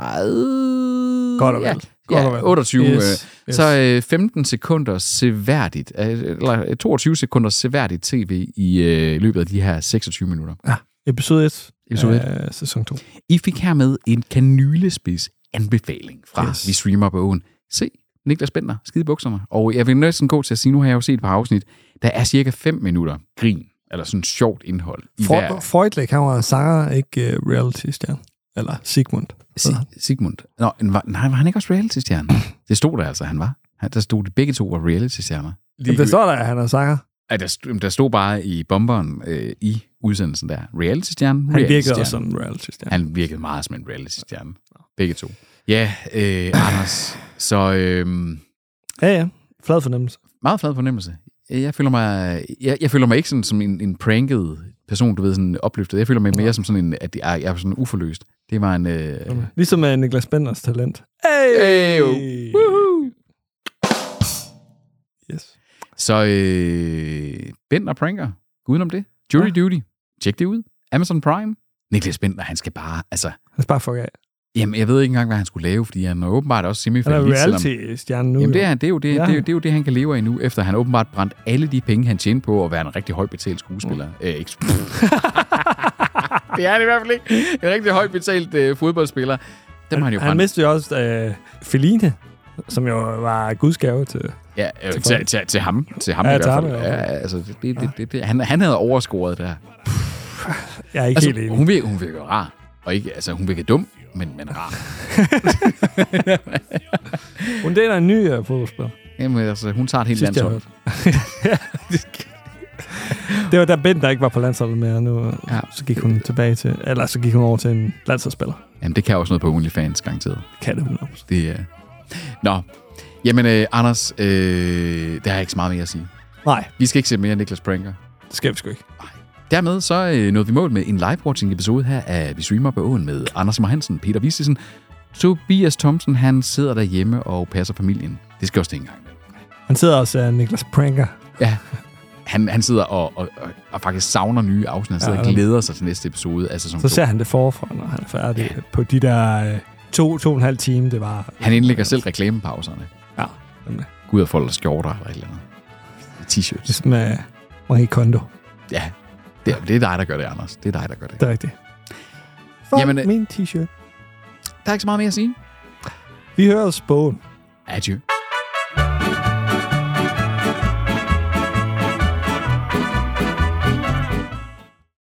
Speaker 2: 30...
Speaker 1: Godt og vel.
Speaker 2: Ja,
Speaker 1: Godt
Speaker 2: ja,
Speaker 1: og vel.
Speaker 2: 28.
Speaker 1: Yes,
Speaker 2: øh,
Speaker 1: yes.
Speaker 2: Så øh, 15 sekunder seværdigt, øh, eller øh, 22 sekunder seværdigt tv i øh, løbet af de her 26 minutter.
Speaker 1: Episode 1.
Speaker 2: Episode
Speaker 1: Øh, sæson 2.
Speaker 2: I fik hermed en kanylespids anbefaling fra
Speaker 1: Yes.
Speaker 2: yes. Vi Streamer på åen. Se, Niklas Bender, skide i bukserne. Og jeg vil næsten gå til at sige, nu har jeg jo set et par afsnit, der er cirka 5 minutter grin, eller sådan sjovt indhold. I hver-
Speaker 1: Freud, Freudlæk, han var sanger, ikke uh, reality-stjerne. Eller Sigmund.
Speaker 2: Sig- Sigmund. Nå, han var, nej, var han ikke
Speaker 1: (laughs)
Speaker 2: også reality-stjerne? Det stod der altså, han var. Han, der stod, de begge to var reality-stjerner.
Speaker 1: Jamen, der står der, at han er sanger.
Speaker 2: Ej, der, stod, der stod bare i bomberen øh, i udsendelsen der. Reality-stjerne,
Speaker 1: Han virkede
Speaker 2: reality-stjerne.
Speaker 1: også som en reality-stjerne.
Speaker 2: Han virkede meget som en reality-stjerne. Begge to. Ja, øh, Anders. Så øh,
Speaker 1: Ja, ja. Flad fornemmelse.
Speaker 2: meget flad fornemmelse. Jeg føler mig, jeg, jeg føler mig ikke sådan, som en, en pranket person, du ved, sådan opløftet. Jeg føler mig mere som sådan en, at det er, jeg er sådan uforløst. Det var en... Øh,
Speaker 1: Ligesom med Niklas Benders talent. Hey!
Speaker 2: Hey! Woohoo!
Speaker 1: Yes.
Speaker 2: Så øh, Bender pranker. Gå udenom det. Jury ja. Duty. Tjek det ud. Amazon Prime. Niklas Bender, han skal bare, altså...
Speaker 1: Han sparer fuck af.
Speaker 2: Jamen, jeg ved ikke engang, hvad han skulle lave, fordi han er åbenbart også
Speaker 1: Han er
Speaker 2: semifinalist. selvom-
Speaker 1: reality-stjerne nu.
Speaker 2: Jamen, det
Speaker 1: jo.
Speaker 2: er, han. det, er jo
Speaker 1: Ja.
Speaker 2: det, ja. det, er jo, det er jo det, han kan leve af nu, efter han åbenbart brændt alle de penge, han tjente på at være en rigtig højt betalt skuespiller. Mm. Øh, ikke... (laughs) det er han i hvert fald ikke. En rigtig højt betalt øh, fodboldspiller. Dem har han jo
Speaker 1: Han
Speaker 2: brændt.
Speaker 1: mistede jo også øh, Feline, som jo var guds gave til...
Speaker 2: Ja, øh,
Speaker 1: Til
Speaker 2: til,
Speaker 1: folk.
Speaker 2: til, til, til ham. Til ham
Speaker 1: Ja,
Speaker 2: ja, i
Speaker 1: til
Speaker 2: hvert
Speaker 1: ham
Speaker 2: fald.
Speaker 1: i
Speaker 2: Ja,
Speaker 1: hvert fald.
Speaker 2: altså, det, det, det, det, han, han havde overscoret der.
Speaker 1: Jeg er ikke altså, helt
Speaker 2: Altså,
Speaker 1: enig.
Speaker 2: hun, virker, hun virker rar. Og ikke, altså, hun virker dum, men, men rar.
Speaker 1: Hun deler en ny øh, fodboldspiller.
Speaker 2: Jamen, altså, hun tager et helt
Speaker 1: Sidst jeg
Speaker 2: landshold.
Speaker 1: hørte. (laughs) det var da Bent, der ikke var på landsholdet mere. Nu, ja.
Speaker 2: Ja.
Speaker 1: Så gik hun tilbage til... Eller så gik hun over til en landsholdsspiller.
Speaker 2: Jamen, det kan også noget på OnlyFans, garanteret.
Speaker 1: Kan det 100%.
Speaker 2: Det er... Nå. Jamen, øh, Anders, øh, der er ikke så meget mere at sige.
Speaker 1: Nej,
Speaker 2: Vi skal ikke se mere Niklas Pranker.
Speaker 1: det skal vi sgu ikke.
Speaker 2: Dermed så øh, nåede vi mål med en live-watching-episode her af Vi Streamer på åen med Anders Simmer Hansen, Peter Vistisen. Tobias Thomsen, han sidder derhjemme og passer familien. Det skal også det engang.
Speaker 1: Han sidder også af Niklas Pranker.
Speaker 2: Ja. Han, han sidder og, og, og, og faktisk savner nye afsnit. Han sidder
Speaker 1: Ja,
Speaker 2: ja, og
Speaker 1: ja.
Speaker 2: glæder sig til næste episode af sæson
Speaker 1: Så
Speaker 2: 2.
Speaker 1: ser han det forfra, når han er færdig ja. på de der øh, to, to og en halv time, det var. øh,
Speaker 2: Han indlægger selv reklamepauserne.
Speaker 1: Ja, nemlig.
Speaker 2: Gud og folder skjorter eller et eller andet. T-shirts.
Speaker 1: ligesom øh, Marie Kondo.
Speaker 2: Ja, det er, det er dig, der gør det, Anders. Det er dig, der gør det.
Speaker 1: Det er rigtigt. Fuck Jamen,
Speaker 2: Jamen, øh,
Speaker 1: min t-shirt.
Speaker 2: Der er ikke så meget mere at sige.
Speaker 1: Vi hører os bogen.
Speaker 2: Adieu.